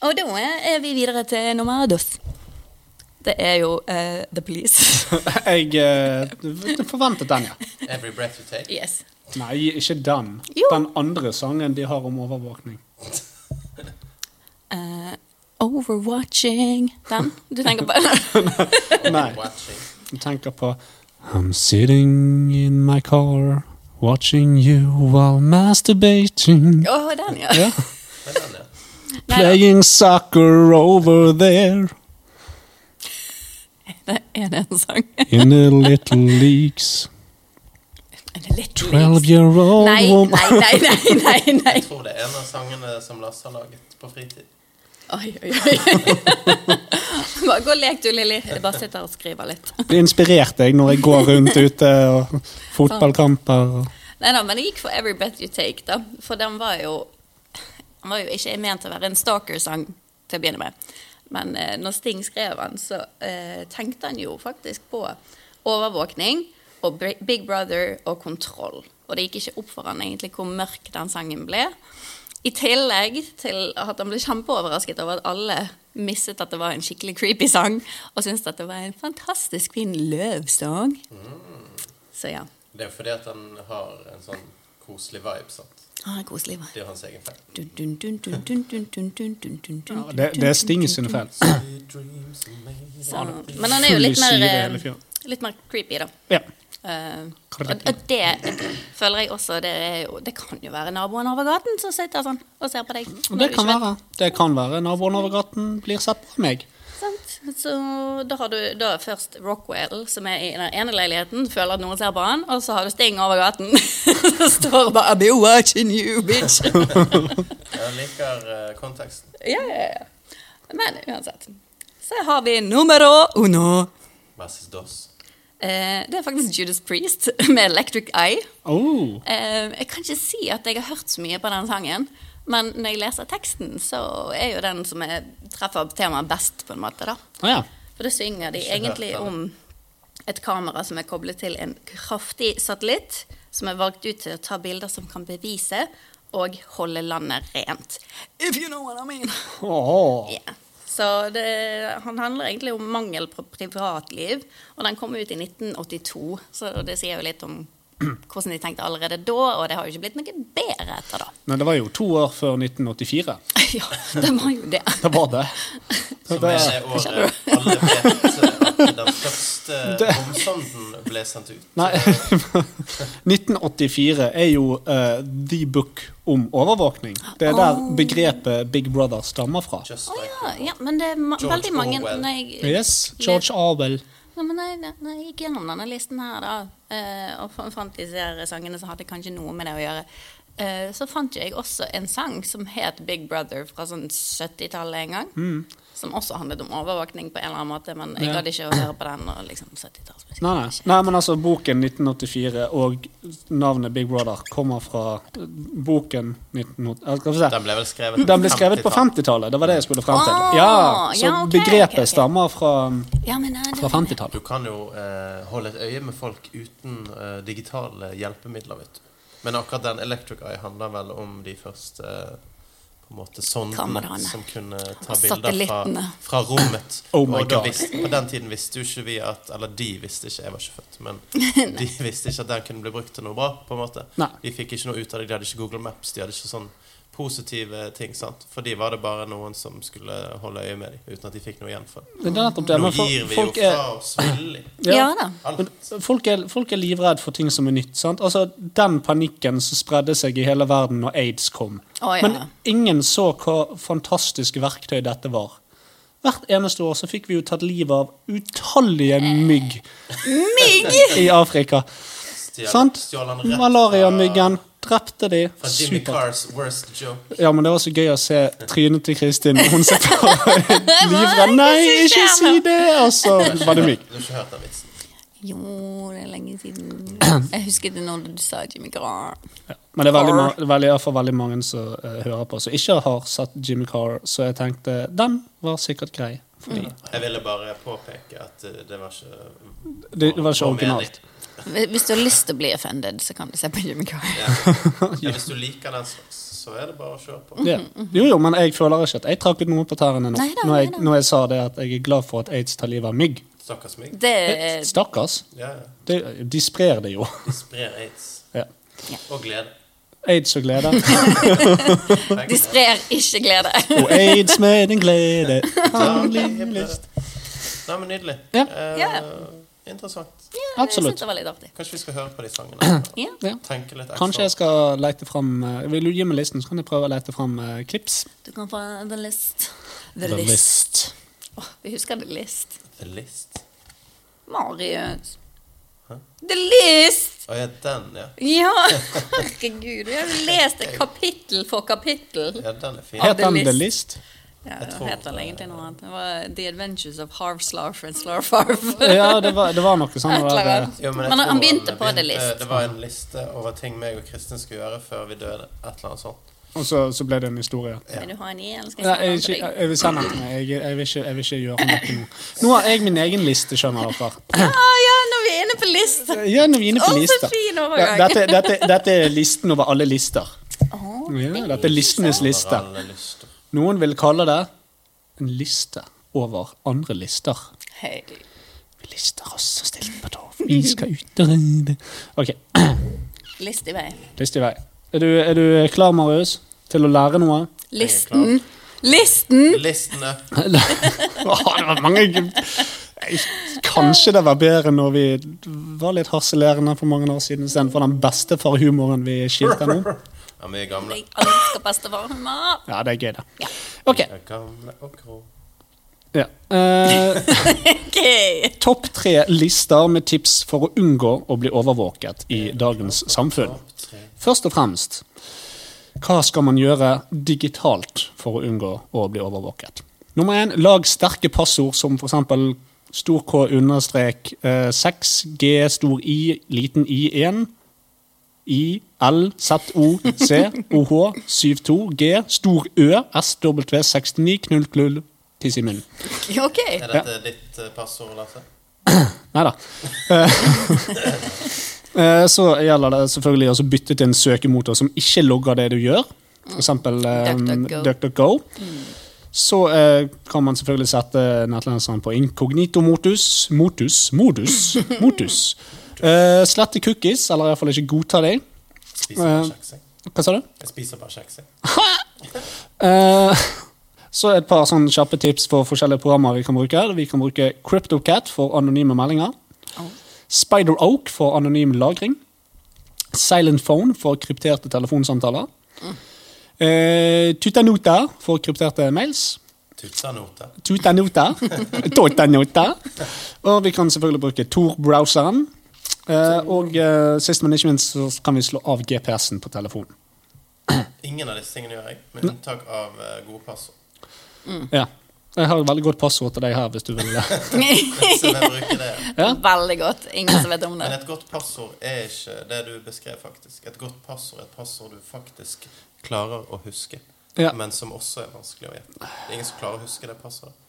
Speaker 2: Og da er vi videre til nummer dos. Det er jo eh, The Police.
Speaker 1: Jeg eh, v- forventet den, ja.
Speaker 3: Every breath you take.
Speaker 2: yes.
Speaker 1: Nei, ikke den.
Speaker 2: Jo.
Speaker 1: Den andre sangen de har om overvåkning.
Speaker 2: Eh, overwatching. Den du tenker på?
Speaker 1: Nei,
Speaker 3: Watching.
Speaker 1: jeg tenker på I'm sitting in my car watching you while masturbating.
Speaker 2: Åh, den, ja.
Speaker 1: Ja.
Speaker 3: Men den, ja.
Speaker 2: Nei,
Speaker 1: Playing soccer over there.
Speaker 2: Det er det en sang.
Speaker 1: In the little leaks.
Speaker 2: Er det litt
Speaker 1: Twelve
Speaker 2: lyrics?
Speaker 1: year old
Speaker 2: Nei,
Speaker 1: woman.
Speaker 2: nei, nei, nei, nei, nei.
Speaker 3: Jeg tror det er en av sangene som Lasse har laget på fritid.
Speaker 2: Oi, oi, oi. Bare gå og lek du, Lilly. Jeg bare sitter her og skriver litt.
Speaker 1: Blir inspirert jeg når jeg går rundt ute og fotballkamper. og-
Speaker 2: Nei da, men jeg gikk for Every Breath You Take, da. For den var jo Den var jo ikke ment til å være en stalker-sang til å begynne med. Men eh, når Sting skrev den, så eh, tenkte han jo faktisk på overvåkning og Br- Big Brother og kontroll. Og det gikk ikke opp for han egentlig hvor mørk den sangen ble. I tillegg til at han ble kjempeoverrasket over at alle mistet at det var en skikkelig creepy sang, og syntes at det var en fantastisk fin løvsang. Så ja.
Speaker 3: Det er jo fordi at han har en sånn koselig vibe. sant?
Speaker 2: Ha en koselig vei.
Speaker 3: Det er jo hans egen feil.
Speaker 2: Dun, dun, dun, dun, dun, dun, dun, dun, dun, dun, dun,
Speaker 1: Det, det er Sting sine feil. Ja,
Speaker 2: Så- Sånn. Men han er jo litt mer,
Speaker 1: Full syre
Speaker 2: eh,
Speaker 1: hele fjor.
Speaker 2: litt mer creepy, da. Eh, og, og det føler jeg også Det, er jo, det kan jo være naboen over gaten som sitter sånn og ser på deg.
Speaker 1: Og
Speaker 2: når
Speaker 1: det
Speaker 2: du
Speaker 1: kan
Speaker 2: ikke vet.
Speaker 1: være. Det kan være naboen over gaten blir sett på meg.
Speaker 2: Sant? Så da har du da først Rockwell, som er i den ene leiligheten, føler at noen ser på han, og så har du Sting over gaten. Som står og bare I'll be watching you, bitch.
Speaker 3: Jeg liker eh, konteksten.
Speaker 2: ja, ja, ja. Men uansett. Så har vi numero uno.
Speaker 3: Versus DOS.
Speaker 2: Eh, det er faktisk Judas Priest med Electric Eye.
Speaker 1: Oh.
Speaker 2: Eh, jeg kan ikke si at jeg har hørt så mye på den sangen, men når jeg leser teksten, så er jo den som jeg treffer temaet best, på en måte, da.
Speaker 1: Ah, ja.
Speaker 2: For da synger de
Speaker 3: Ikke hørt
Speaker 2: egentlig
Speaker 3: den.
Speaker 2: om et kamera som er koblet til en kraftig satellitt, som er valgt ut til å ta bilder som kan bevise og holde landet rent. If you know what I mean.
Speaker 1: Åh.
Speaker 2: Ja. Så det, han handler egentlig om mangel på privatliv, og den kom ut i 1982. Så det sier jo litt om hvordan de tenkte allerede da, og det har jo ikke blitt noe bedre etter da.
Speaker 1: Men det var jo to år før 1984.
Speaker 2: ja, det var jo det.
Speaker 1: Det var det. Så
Speaker 3: Som
Speaker 1: det
Speaker 3: er det året alle vet eh, at den første
Speaker 1: Det-
Speaker 3: romsonden ble sendt ut.
Speaker 1: Nei. 1984 er jo eh, the book om overvåkning. Det er der begrepet Big Brother stammer fra.
Speaker 3: Just
Speaker 2: Å
Speaker 3: like
Speaker 2: ja, ja, men det er ma
Speaker 3: George
Speaker 2: veldig mange
Speaker 3: Orwell.
Speaker 2: når jeg,
Speaker 1: Yes, George Orwell.
Speaker 2: Ja, men når jeg, når jeg gikk gjennom denne listen her, da, eh, og fa- fant disse her sangene som hadde kanskje noe med det å gjøre, eh, så fant jo jeg også en sang som het Big Brother fra sånn 70-tallet en gang. Som også handlet om overvåkning på en eller annen måte, men jeg
Speaker 1: Mm. Ja.
Speaker 2: gadd ikke å høre på den. Og liksom 70-tallsmusikk.
Speaker 1: Nei, nei. nei, men altså boken 1984 og navnet Big Brother kommer fra eh, boken 1980 eh, Skal vi se.
Speaker 3: Den ble vel skrevet
Speaker 1: Den ble skrevet på 50-tallet. Det var det jeg skulle frem til.
Speaker 2: Ah,
Speaker 1: Ja, Så
Speaker 2: ja, ok, ok, ok.
Speaker 1: begrepet stammer fra,
Speaker 2: Ja, men nei,
Speaker 1: fra
Speaker 2: det,
Speaker 1: 50-tallet.
Speaker 3: Du kan jo eh, holde et øye med folk uten eh, digitale hjelpemidler, vet du. Men akkurat den Electric Eye handler vel om de første eh, på en måte sondene
Speaker 2: Kameraene.
Speaker 3: som kunne ta
Speaker 2: Og
Speaker 3: bilder fra,
Speaker 2: satellittene.
Speaker 3: fra rommet.
Speaker 1: Oh my
Speaker 3: og da
Speaker 1: God.
Speaker 3: visste, på den tiden visste jo ikke vi at Eller de visste ikke, jeg var ikke født, men de visste ikke at den kunne bli brukt til noe bra. på en måte.
Speaker 1: Nei.
Speaker 3: De fikk ikke noe ut av det, de hadde ikke Google Maps, de hadde ikke sånn positive ting. sant? For de var det bare noen som skulle holde øye med dem, uten at de fikk noe igjen for det.
Speaker 1: Det er nettopp det.
Speaker 3: Nå
Speaker 1: Men
Speaker 3: gir
Speaker 1: fol-
Speaker 3: vi jo
Speaker 1: folk er
Speaker 3: fra oss villig.
Speaker 2: ja. da.
Speaker 1: Men
Speaker 3: Alt.
Speaker 1: Folk er, folk er livredd for ting som er nytt. sant? Altså, Den panikken som spredde seg i hele verden når aids kom.
Speaker 2: Å, ja.
Speaker 1: Men ingen så hva fantastisk verktøy dette var. Hvert eneste år så fikk vi jo tatt livet av utallige mygg i Afrika.
Speaker 3: Stjal-
Speaker 1: Sant?
Speaker 3: stjal han rett
Speaker 1: Malariamyggen drepte de.
Speaker 3: Fra Jimmy
Speaker 1: Supert.
Speaker 3: Cars worst joke.
Speaker 1: Ja, men Det var så gøy å se trynet til Kristin. Hun ser bare livredd. Nei, ikke si det! Og så var det mygg.
Speaker 3: Du har ikke hørt den vitsen.
Speaker 2: Jo, det er lenge siden. Jeg husket det når du sa Jimmy Carr.
Speaker 1: Men det er veldig,
Speaker 2: Carr.
Speaker 1: ma- veldig, iallfall veldig mange som eh, hører på, som ikke har sett Jimmy Carr, så jeg tenkte den var sikkert grei. Fordi
Speaker 3: Jeg ville bare påpeke at eh, det var ikke
Speaker 1: det, det var ikke
Speaker 3: Hva
Speaker 1: originalt.
Speaker 2: Hvis du har lyst til å bli offended, så kan du se på Jimmy Carr.
Speaker 3: mener de? Ja, hvis du liker den slags, så er det bare å kjøre på.
Speaker 1: Ja. Jo, jo, men jeg føler ikke at jeg trakk ut noen på tærne nå.
Speaker 2: Neida,
Speaker 1: når, jeg,
Speaker 2: neida.
Speaker 1: når jeg sa det at jeg er glad for at aids tar livet av mygg.
Speaker 3: Stakkars mygg.
Speaker 2: Det
Speaker 1: Stakkars.
Speaker 3: Ja, ja.
Speaker 1: Det, de sprer det jo.
Speaker 3: De sprer aids.
Speaker 1: Ja.
Speaker 3: Og glede.
Speaker 1: Aids og glede.
Speaker 3: Begge
Speaker 2: De sprer ikke glede.
Speaker 1: Og aids med din glede.
Speaker 3: deler. Ja,
Speaker 1: Handling
Speaker 3: ok,
Speaker 1: med lyst.
Speaker 3: hipp. Nei, men nydelig.
Speaker 1: Ja.
Speaker 3: Eh,
Speaker 2: Ja.
Speaker 3: Interessant.
Speaker 2: Jeg
Speaker 1: Absolutt.
Speaker 2: synes det var litt artig.
Speaker 3: Kanskje vi skal høre på de sangene?
Speaker 2: Ja.
Speaker 1: Ja.
Speaker 3: Tenke litt ekstra.
Speaker 1: Kanskje jeg skal lete fram eh, Vil du gi meg listen, så kan jeg prøve å lete fram eh, klips.
Speaker 2: Du kan få The List.
Speaker 1: The
Speaker 2: The, List.
Speaker 1: List.
Speaker 2: Åh, vi husker The List.
Speaker 3: The List.
Speaker 2: Marius. The List!
Speaker 3: Å ja, den, ja.
Speaker 2: Ja, herregud. Vi har jo lest det kapittel for kapittel.
Speaker 3: Ja, den er fin.
Speaker 2: Ja,
Speaker 1: Het
Speaker 2: det er
Speaker 1: han The
Speaker 2: list.
Speaker 1: List?
Speaker 2: Ja,
Speaker 3: Jeg
Speaker 2: Hva
Speaker 3: tror-
Speaker 2: heter den egentlig noe annet? Det var The Adventures of Harv Slarf and Slarfarv.
Speaker 1: Ja, det var, det var noe sånn.
Speaker 2: Et eller
Speaker 1: der,
Speaker 2: annet.
Speaker 3: Ja, jeg
Speaker 2: Men han
Speaker 3: tror
Speaker 2: begynte på The List.
Speaker 3: Det var en liste over ting meg og Kristin skulle gjøre før vi døde. Et eller annet sånt.
Speaker 1: Og så, så ble det en historie.
Speaker 2: Vil du ha en i, eller skal
Speaker 1: Nei,
Speaker 2: jeg
Speaker 1: jeg, jeg, jeg
Speaker 2: sende den til deg?
Speaker 1: vil sende den til meg. Jeg, jeg, vil ikke, jeg vil ikke gjøre noe nå. Nå har jeg min egen liste, skjønner dere.
Speaker 2: Ja, ja, når vi er inne på lista.
Speaker 1: Eh, Ja, når vi er inne på
Speaker 2: Å, så
Speaker 1: lista.
Speaker 2: fin
Speaker 1: Ja,
Speaker 2: overgang.
Speaker 1: dette, dette, dette er listen over alle lister. Ja, dette er listenes liste.
Speaker 3: Over alle lyster.
Speaker 1: Noen vil kalle det en liste over andre lister.
Speaker 2: Hei.
Speaker 1: Vi lister oss og stiller på tå. Vi skal ut og ride. Ok,
Speaker 2: List i vei.
Speaker 1: list i vei. Er du, er du klar, Marius, til å lære noe?
Speaker 2: Listen. Listen!
Speaker 3: Listene.
Speaker 1: Åh, det var mange Nei, Kanskje det var bedre når vi var litt harselerende for mange år siden, istedenfor den beste farhumoren vi skilte nå.
Speaker 3: Ja, vi er gamle.
Speaker 2: Jeg elsker bestefar.
Speaker 1: Ja, det er gøy, det. Ok.
Speaker 3: Vi er gamle og grå.
Speaker 1: Ja. Eh,
Speaker 2: Okay.
Speaker 1: topp tre lister med tips for å unngå å bli overvåket i dagens samfunn.
Speaker 3: Opp tre.
Speaker 1: Først og fremst, hva skal man gjøre digitalt for å unngå å bli overvåket? Nummer én, lag sterke passord som f.eks. stor K understrek eh, 6, G stor I, liten I1, I, L, Z, O, C, OH, 72, G, stor Ø, SW, 69, knull, knull, tiss i munnen.
Speaker 2: Ok.
Speaker 3: Er dette ditt eh, passord, Lasse?
Speaker 1: Nei da. Eh, Så gjelder det selvfølgelig også å bytte til en søkemotor som ikke logger det du gjør. For eksempel eh,
Speaker 2: DuckDuckGo.
Speaker 1: DuckDuckGo. Så eh, kan man selvfølgelig sette nettlenseren på inkognito motus. Motus, modus, motus. Eh, slette cookies, eller iallfall ikke godta dem.
Speaker 3: Spiser bare
Speaker 1: Eh.
Speaker 3: kjeks, jeg.
Speaker 1: Hva sa du?
Speaker 3: Jeg spiser bare kjeks, jeg.
Speaker 1: Eh, Så et par sånne kjappe tips for forskjellige programmer vi kan bruke. Vi kan bruke CryptoCat for anonyme meldinger. Spider Oak for anonym lagring. Silent Phone for krypterte telefonsamtaler. Eh, Tutanota for krypterte mails.
Speaker 3: Tutanote.
Speaker 1: Tutanota. Tutanota. Og vi kan selvfølgelig bruke Tor-browseren. Eh, og eh, sist, men ikke minst, så kan vi slå av GPS-en på telefonen.
Speaker 3: Ingen av disse tingene gjør jeg, med unntak av eh, gode passord.
Speaker 1: Ja. Jeg har et veldig godt passord til deg her, hvis du vil det.
Speaker 3: Så jeg bruker det.
Speaker 2: Veldig godt. Ingen som vet om det.
Speaker 3: Men et godt passord er ikke det du beskrev, faktisk. Et godt passord er et passord du faktisk klarer å huske,
Speaker 1: Ja.
Speaker 3: men som også er vanskelig å gjette. Det er ingen som klarer å huske det passordet.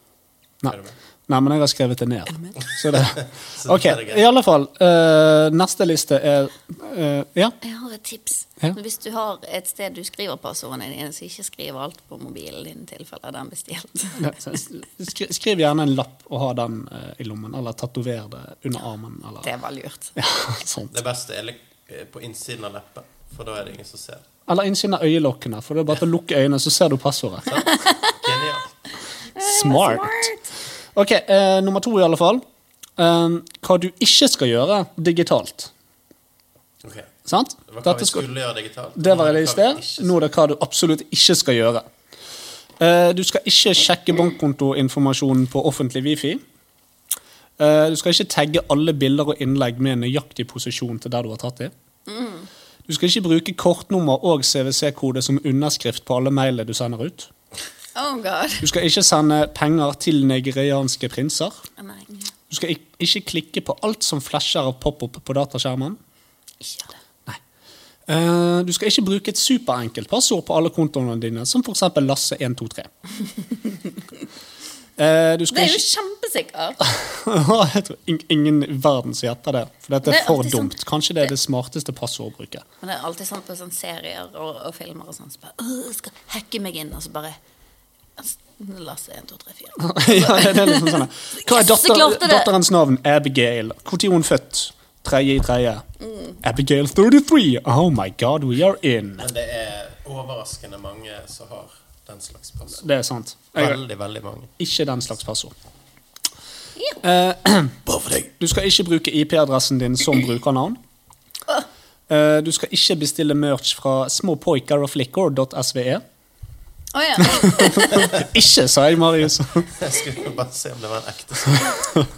Speaker 1: Nei.
Speaker 3: Er du med?
Speaker 1: Nei, men jeg har skrevet det ned. Så det.
Speaker 3: Så
Speaker 1: Ok,
Speaker 3: det er greit.
Speaker 1: i alle fall. eh, neste liste er eh, Ja.
Speaker 2: Jeg har et tips.
Speaker 1: Ja.
Speaker 2: Hvis du har et sted du skriver passordene dine, så ikke skriv alt på mobilen din i tilfelle den blir stjålet.
Speaker 1: Skri, skriv gjerne en lapp og ha den eh, i lommen, eller tatover det under armen. Eller,
Speaker 2: Det var lurt.
Speaker 1: ja, sånt.
Speaker 3: Det beste er lik- på innsiden av leppen, for da er det ingen som ser det.
Speaker 1: eller innsiden av øyelokkene, for det er bare til å lukke øynene, så ser du passordet.
Speaker 3: Genialt.
Speaker 1: Smart. Ok, eh, nummer to, i alle fall. Eh, hva du ikke skal gjøre digitalt.
Speaker 3: Ok.
Speaker 1: Sant?
Speaker 3: Det var hva
Speaker 1: Dette
Speaker 3: vi
Speaker 1: skal-
Speaker 3: skulle gjøre digitalt.
Speaker 1: Det var
Speaker 3: Nå er
Speaker 1: det i
Speaker 3: hva vi
Speaker 1: sted.
Speaker 3: ikke
Speaker 1: Nå er det hva du absolutt ikke skal gjøre. Eh, Du skal ikke sjekke bankkontoinformasjonen på offentlig wifi. Eh, Du skal ikke tagge alle bilder og innlegg med nøyaktig posisjon til der du har tatt dem. Du skal ikke bruke kortnummer og CWC-kode som underskrift på alle mailene du sender ut.
Speaker 2: Oh god.
Speaker 1: Du skal ikke sende penger til nigerianske prinser.
Speaker 2: Nei,
Speaker 1: Du skal ik- ikke klikke på alt som flasher og pop-opp på dataskjermen.
Speaker 2: ikke gjør det.
Speaker 1: Eh, Du skal ikke bruke et superenkelt passord på alle kontoene dine, som f.eks. Lasse123. Eh, Du
Speaker 2: Det
Speaker 1: skal
Speaker 2: er jo
Speaker 1: ikke
Speaker 2: kjempesikkert.
Speaker 1: Jeg tror ing- ingen i verden som gjetter det. For dette
Speaker 2: Det
Speaker 1: er
Speaker 2: er
Speaker 1: for
Speaker 2: alltid sånn-
Speaker 1: dumt. Kanskje det er det smarteste passordet å bruke.
Speaker 2: Men det er alltid sånn på sånne serier og, og filmer og sånn, så bare «Åh, jeg skal hacke meg inn, og så bare altså, Lasse 1, 2, 3, 4.
Speaker 1: ja, det er liksom sånn Hva er
Speaker 2: Yes, jeg klarte
Speaker 1: datter,
Speaker 2: det!
Speaker 1: datterens navn? Abigail. Når er hun født? Tredje i tredje.
Speaker 2: Mm.
Speaker 1: Abigail 33. Oh my god, we are in.
Speaker 3: Men det er overraskende mange som har den slags passord.
Speaker 1: Det er sant. Jeg,
Speaker 3: Veldig, veldig mange.
Speaker 1: ikke den slags passord.
Speaker 2: Ja.
Speaker 3: Bare for deg.
Speaker 1: Eh, Du skal ikke bruke IP-adressen din som brukernavn. Eh, Du skal ikke bestille merch fra småpoikerogflickor.sve.
Speaker 2: Å ja.
Speaker 1: Ikke, sa jeg, Marius.
Speaker 3: Jeg skulle bare se om det var en ekte sak.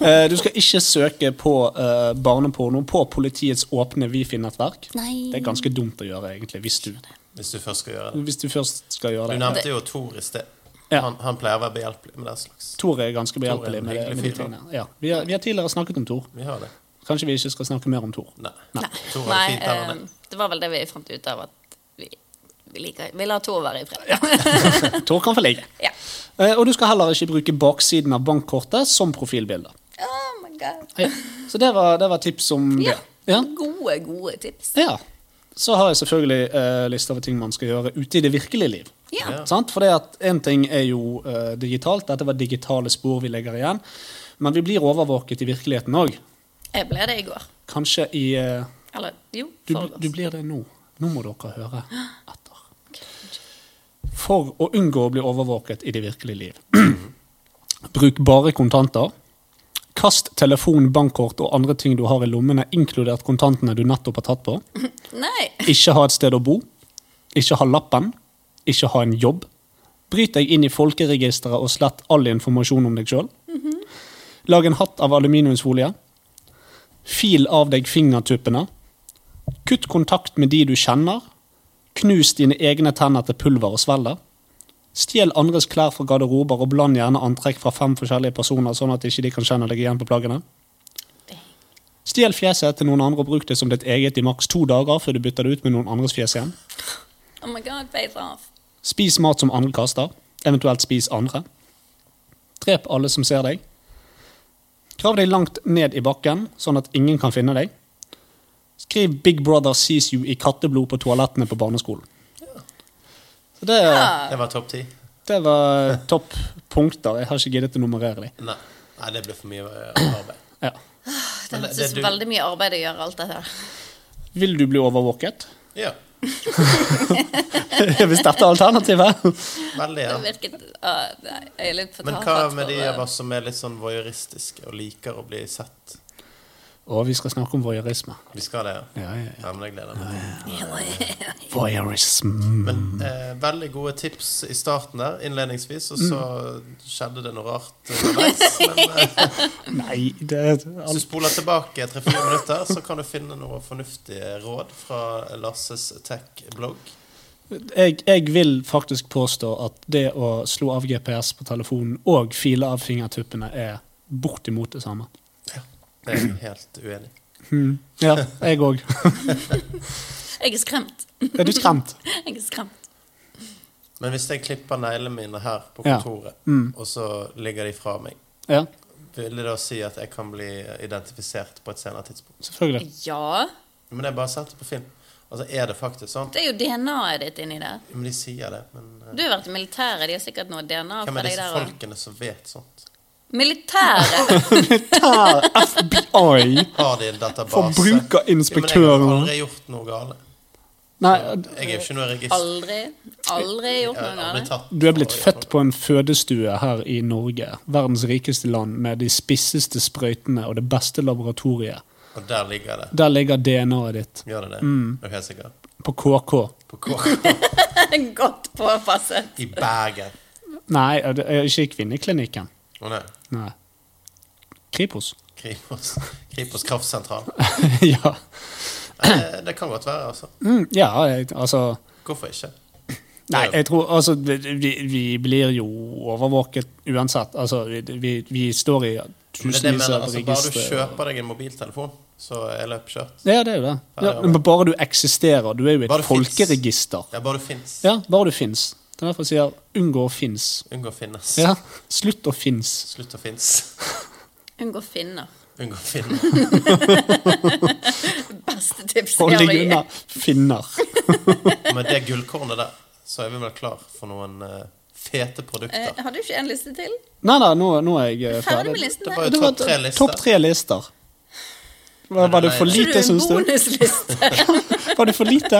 Speaker 1: Eh, du skal ikke søke på eh, barneporno på politiets åpne Wifi-nettverk.
Speaker 4: Nei.
Speaker 1: Det er ganske dumt å gjøre, egentlig, hvis du,
Speaker 3: Hvis du først skal gjøre det.
Speaker 1: hvis du først skal
Speaker 3: Du
Speaker 1: gjøre det.
Speaker 3: nevnte jo Tor i sted.
Speaker 1: Ja.
Speaker 3: Han, han pleier å være behjelpelig med den slags.
Speaker 1: Tor er ganske behjelpelig
Speaker 3: en
Speaker 1: med, med
Speaker 3: hyggelig
Speaker 1: de
Speaker 3: fyr, da.
Speaker 1: tingene. Ja, vi, har, vi har tidligere snakket om Tor.
Speaker 3: Vi har det.
Speaker 1: Kanskje vi ikke skal snakke mer om Tor.
Speaker 3: Nei.
Speaker 2: Nei,
Speaker 3: Tor
Speaker 2: Nei
Speaker 3: er fint der han
Speaker 2: eh,
Speaker 3: er.
Speaker 2: det var vel det vi fant ut av at vi, vi liker Vi lar Tor være i fred.
Speaker 1: Tor kan få ligge.
Speaker 2: Ja.
Speaker 1: Eh, Og du skal heller ikke bruke baksiden av bankkortet som profilbilde.
Speaker 2: Oh my god.
Speaker 1: Ja. Så det var, det var tips om
Speaker 2: Ja.
Speaker 1: det. Ja.
Speaker 2: Gode, gode tips.
Speaker 1: ja. Så har jeg selvfølgelig eh, liste over ting man skal gjøre ute i det virkelige liv.
Speaker 2: Ja.
Speaker 3: Ja.
Speaker 1: Sant? For det at én ting er jo eh, digitalt, dette var digitale spor vi legger igjen. Men vi blir overvåket i virkeligheten òg.
Speaker 2: Jeg ble det i går.
Speaker 1: Kanskje i eh,
Speaker 2: Eller jo,
Speaker 1: du,
Speaker 2: forgårs.
Speaker 1: du blir det nå. Nå må dere høre etter. For å unngå å bli overvåket i det virkelige liv. Bruk bare kontanter. Kast telefon, bankkort og andre ting du har i lommene, inkludert kontantene du nettopp har tatt på.
Speaker 2: Nei.
Speaker 1: Ikke ha et sted å bo. Ikke ha lappen. Ikke ha en jobb. Bryt deg inn i folkeregisteret og slett all informasjon om deg sjøl. Lag en hatt av aluminiumsfolie. Fil av deg fingertuppene. Kutt kontakt med de du kjenner. Knus dine egne tenner til pulver og svelger. Stjel andres klær fra garderober og bland gjerne antrekk fra fem forskjellige personer, sånn at ikke de kan kjenne deg igjen på plaggene. Stjel fjeset til noen andre og bruk det som ditt eget i maks to dager før du bytter det ut med noen andres fjes igjen.
Speaker 2: Oh my god, face off.
Speaker 1: Spis mat som andre kaster, eventuelt spis andre. Drep alle som ser deg. Grav deg langt ned i bakken, sånn at ingen kan finne deg. Skriv 'Big Brother sees you' i katteblod på toalettene på barneskolen. Så det,
Speaker 3: Det var topp ti.
Speaker 1: det var topp punkter. Jeg har ikke giddet å nummerere dem.
Speaker 3: Nei. Nei, det ble for mye eh, arbeid.
Speaker 1: Ja.
Speaker 2: Det
Speaker 3: Men det-
Speaker 2: høres ut
Speaker 3: det
Speaker 2: som
Speaker 3: du-
Speaker 2: veldig mye arbeid å gjøre alt dette her.
Speaker 1: Vil du bli overvåket?
Speaker 3: Ja.
Speaker 1: Hvis dette er alternativet?
Speaker 3: Veldig.
Speaker 2: Det
Speaker 3: ja.
Speaker 2: virket ah, Nei, jeg er litt for
Speaker 3: Men hva
Speaker 2: tafatt
Speaker 3: med de
Speaker 2: for, eh,
Speaker 3: av oss som er litt sånn voyeuristiske og liker å bli sett?
Speaker 1: Og vi skal snakke om voyeurisme.
Speaker 3: Vi skal det, ja?
Speaker 1: Ja, ja, ja.
Speaker 3: Ja, men jeg gleder meg.
Speaker 1: Voyeurisme.
Speaker 3: Men eh, veldig gode tips i starten der, innledningsvis, og så skjedde det noe rart underveis. Men eh,
Speaker 1: Nei, det er
Speaker 3: hvis du spoler tilbake tre-fire minutter, så kan du finne noe fornuftige råd fra Lasses tech-blogg.
Speaker 1: jeg, jeg vil faktisk påstå at det å slå av GPS på telefonen og file av fingertuppene er bortimot det samme.
Speaker 3: Det er jeg helt uenig i.
Speaker 1: Ja, jeg òg.
Speaker 2: det. Jeg er skremt.
Speaker 1: Er du skremt?
Speaker 2: Jeg er skremt.
Speaker 3: Men hvis jeg klipper neglene mine her på
Speaker 1: Ja. Mm.
Speaker 3: kontoret, og så ligger de fra meg,
Speaker 1: Ja,
Speaker 3: vil det da si at jeg kan bli eh, identifisert på et senere tidspunkt?
Speaker 1: selvfølgelig.
Speaker 2: Ja.
Speaker 3: Men jeg bare har sett det på film. Altså, er det faktisk sånn?
Speaker 2: Det er jo DNA-et ditt inni der.
Speaker 3: Men de sier det, men eh,
Speaker 2: Du har vært i militæret, de har sikkert noe DNA fra
Speaker 3: hvem er
Speaker 2: deg
Speaker 3: disse
Speaker 2: der òg.
Speaker 3: folkene som vet sånt?
Speaker 2: Militæret!
Speaker 3: Ah,
Speaker 1: Der, FBI!
Speaker 3: Har de en database? Ja, men jeg har
Speaker 1: Forbrukerinspektøren.
Speaker 3: aldri gjort noe galt.
Speaker 1: Nei,
Speaker 3: Jeg er jo ikke noe register.
Speaker 2: Aldri, aldri gjort
Speaker 3: Jeg har
Speaker 2: noe av
Speaker 3: aldri
Speaker 2: det.
Speaker 3: tatt
Speaker 1: du er blitt
Speaker 3: for å gjøre
Speaker 1: født på en fødestue her i Norge, verdens rikeste land, med de spisseste sprøytene og det beste laboratoriet.
Speaker 3: noe. Og der ligger det.
Speaker 1: Der ligger DNA-et ditt.
Speaker 3: Gjør det det?
Speaker 1: Mm.
Speaker 3: Er du helt sikker?
Speaker 1: På KK.
Speaker 3: På K.
Speaker 2: Godt påpasset.
Speaker 3: I Bergen.
Speaker 1: Nei, det er ikke i kvinneklinikken.
Speaker 3: Å nei.
Speaker 1: Nei. Kripos.
Speaker 3: Kripos, Kripos kraftsentral.
Speaker 1: ja.
Speaker 3: Eh, Det kan godt være, altså.
Speaker 1: Mm, ja, jeg- altså
Speaker 3: Hvorfor ikke?
Speaker 1: Nei,
Speaker 3: Ja.
Speaker 1: jeg tror altså Vi, vi- vi blir jo overvåket uansett. Altså, vi, vi, vi står i
Speaker 3: Men det er det jeg
Speaker 1: tusenvis
Speaker 3: mener,
Speaker 1: av
Speaker 3: altså, bare du
Speaker 1: registre.
Speaker 3: kjøper deg en mobiltelefon, så er løpet kjørt.
Speaker 1: Ja, det er jo det.
Speaker 3: Ja,
Speaker 1: Ja,
Speaker 3: ja,
Speaker 1: men bare du eksisterer. Du er jo
Speaker 3: Bare
Speaker 1: et
Speaker 3: du finnes.
Speaker 1: folkeregister.
Speaker 3: Ja, bare du fins.
Speaker 1: Ja, bare du fins. Det er derfor jeg sier 'unngå å fins'.
Speaker 3: Unngå finnes.
Speaker 1: Ja, slutt å fins.
Speaker 3: Slutt å finnes.
Speaker 2: Unngå finner.
Speaker 3: Unngå finne.
Speaker 2: Beste tipset
Speaker 1: Hold
Speaker 2: jeg har
Speaker 1: deg
Speaker 2: å gi.
Speaker 1: unna finner.
Speaker 3: Med det gullkornet der, så er vi vel klar for noen eh, fete
Speaker 2: Eh,
Speaker 3: produkter.
Speaker 2: har du ikke en liste til?
Speaker 1: Nei da, nå, nå er jeg eh,
Speaker 2: Ferdig
Speaker 1: ferdig.
Speaker 2: med listen.
Speaker 3: Det
Speaker 2: der.
Speaker 3: var jo
Speaker 1: Det var
Speaker 3: topp tre lister.
Speaker 1: topp tre lister. Var,
Speaker 3: Men
Speaker 1: var det
Speaker 3: nei,
Speaker 1: for
Speaker 3: det-
Speaker 2: Tror du
Speaker 1: lite,
Speaker 2: en
Speaker 1: syns du?
Speaker 2: bonusliste
Speaker 1: Var det for lite?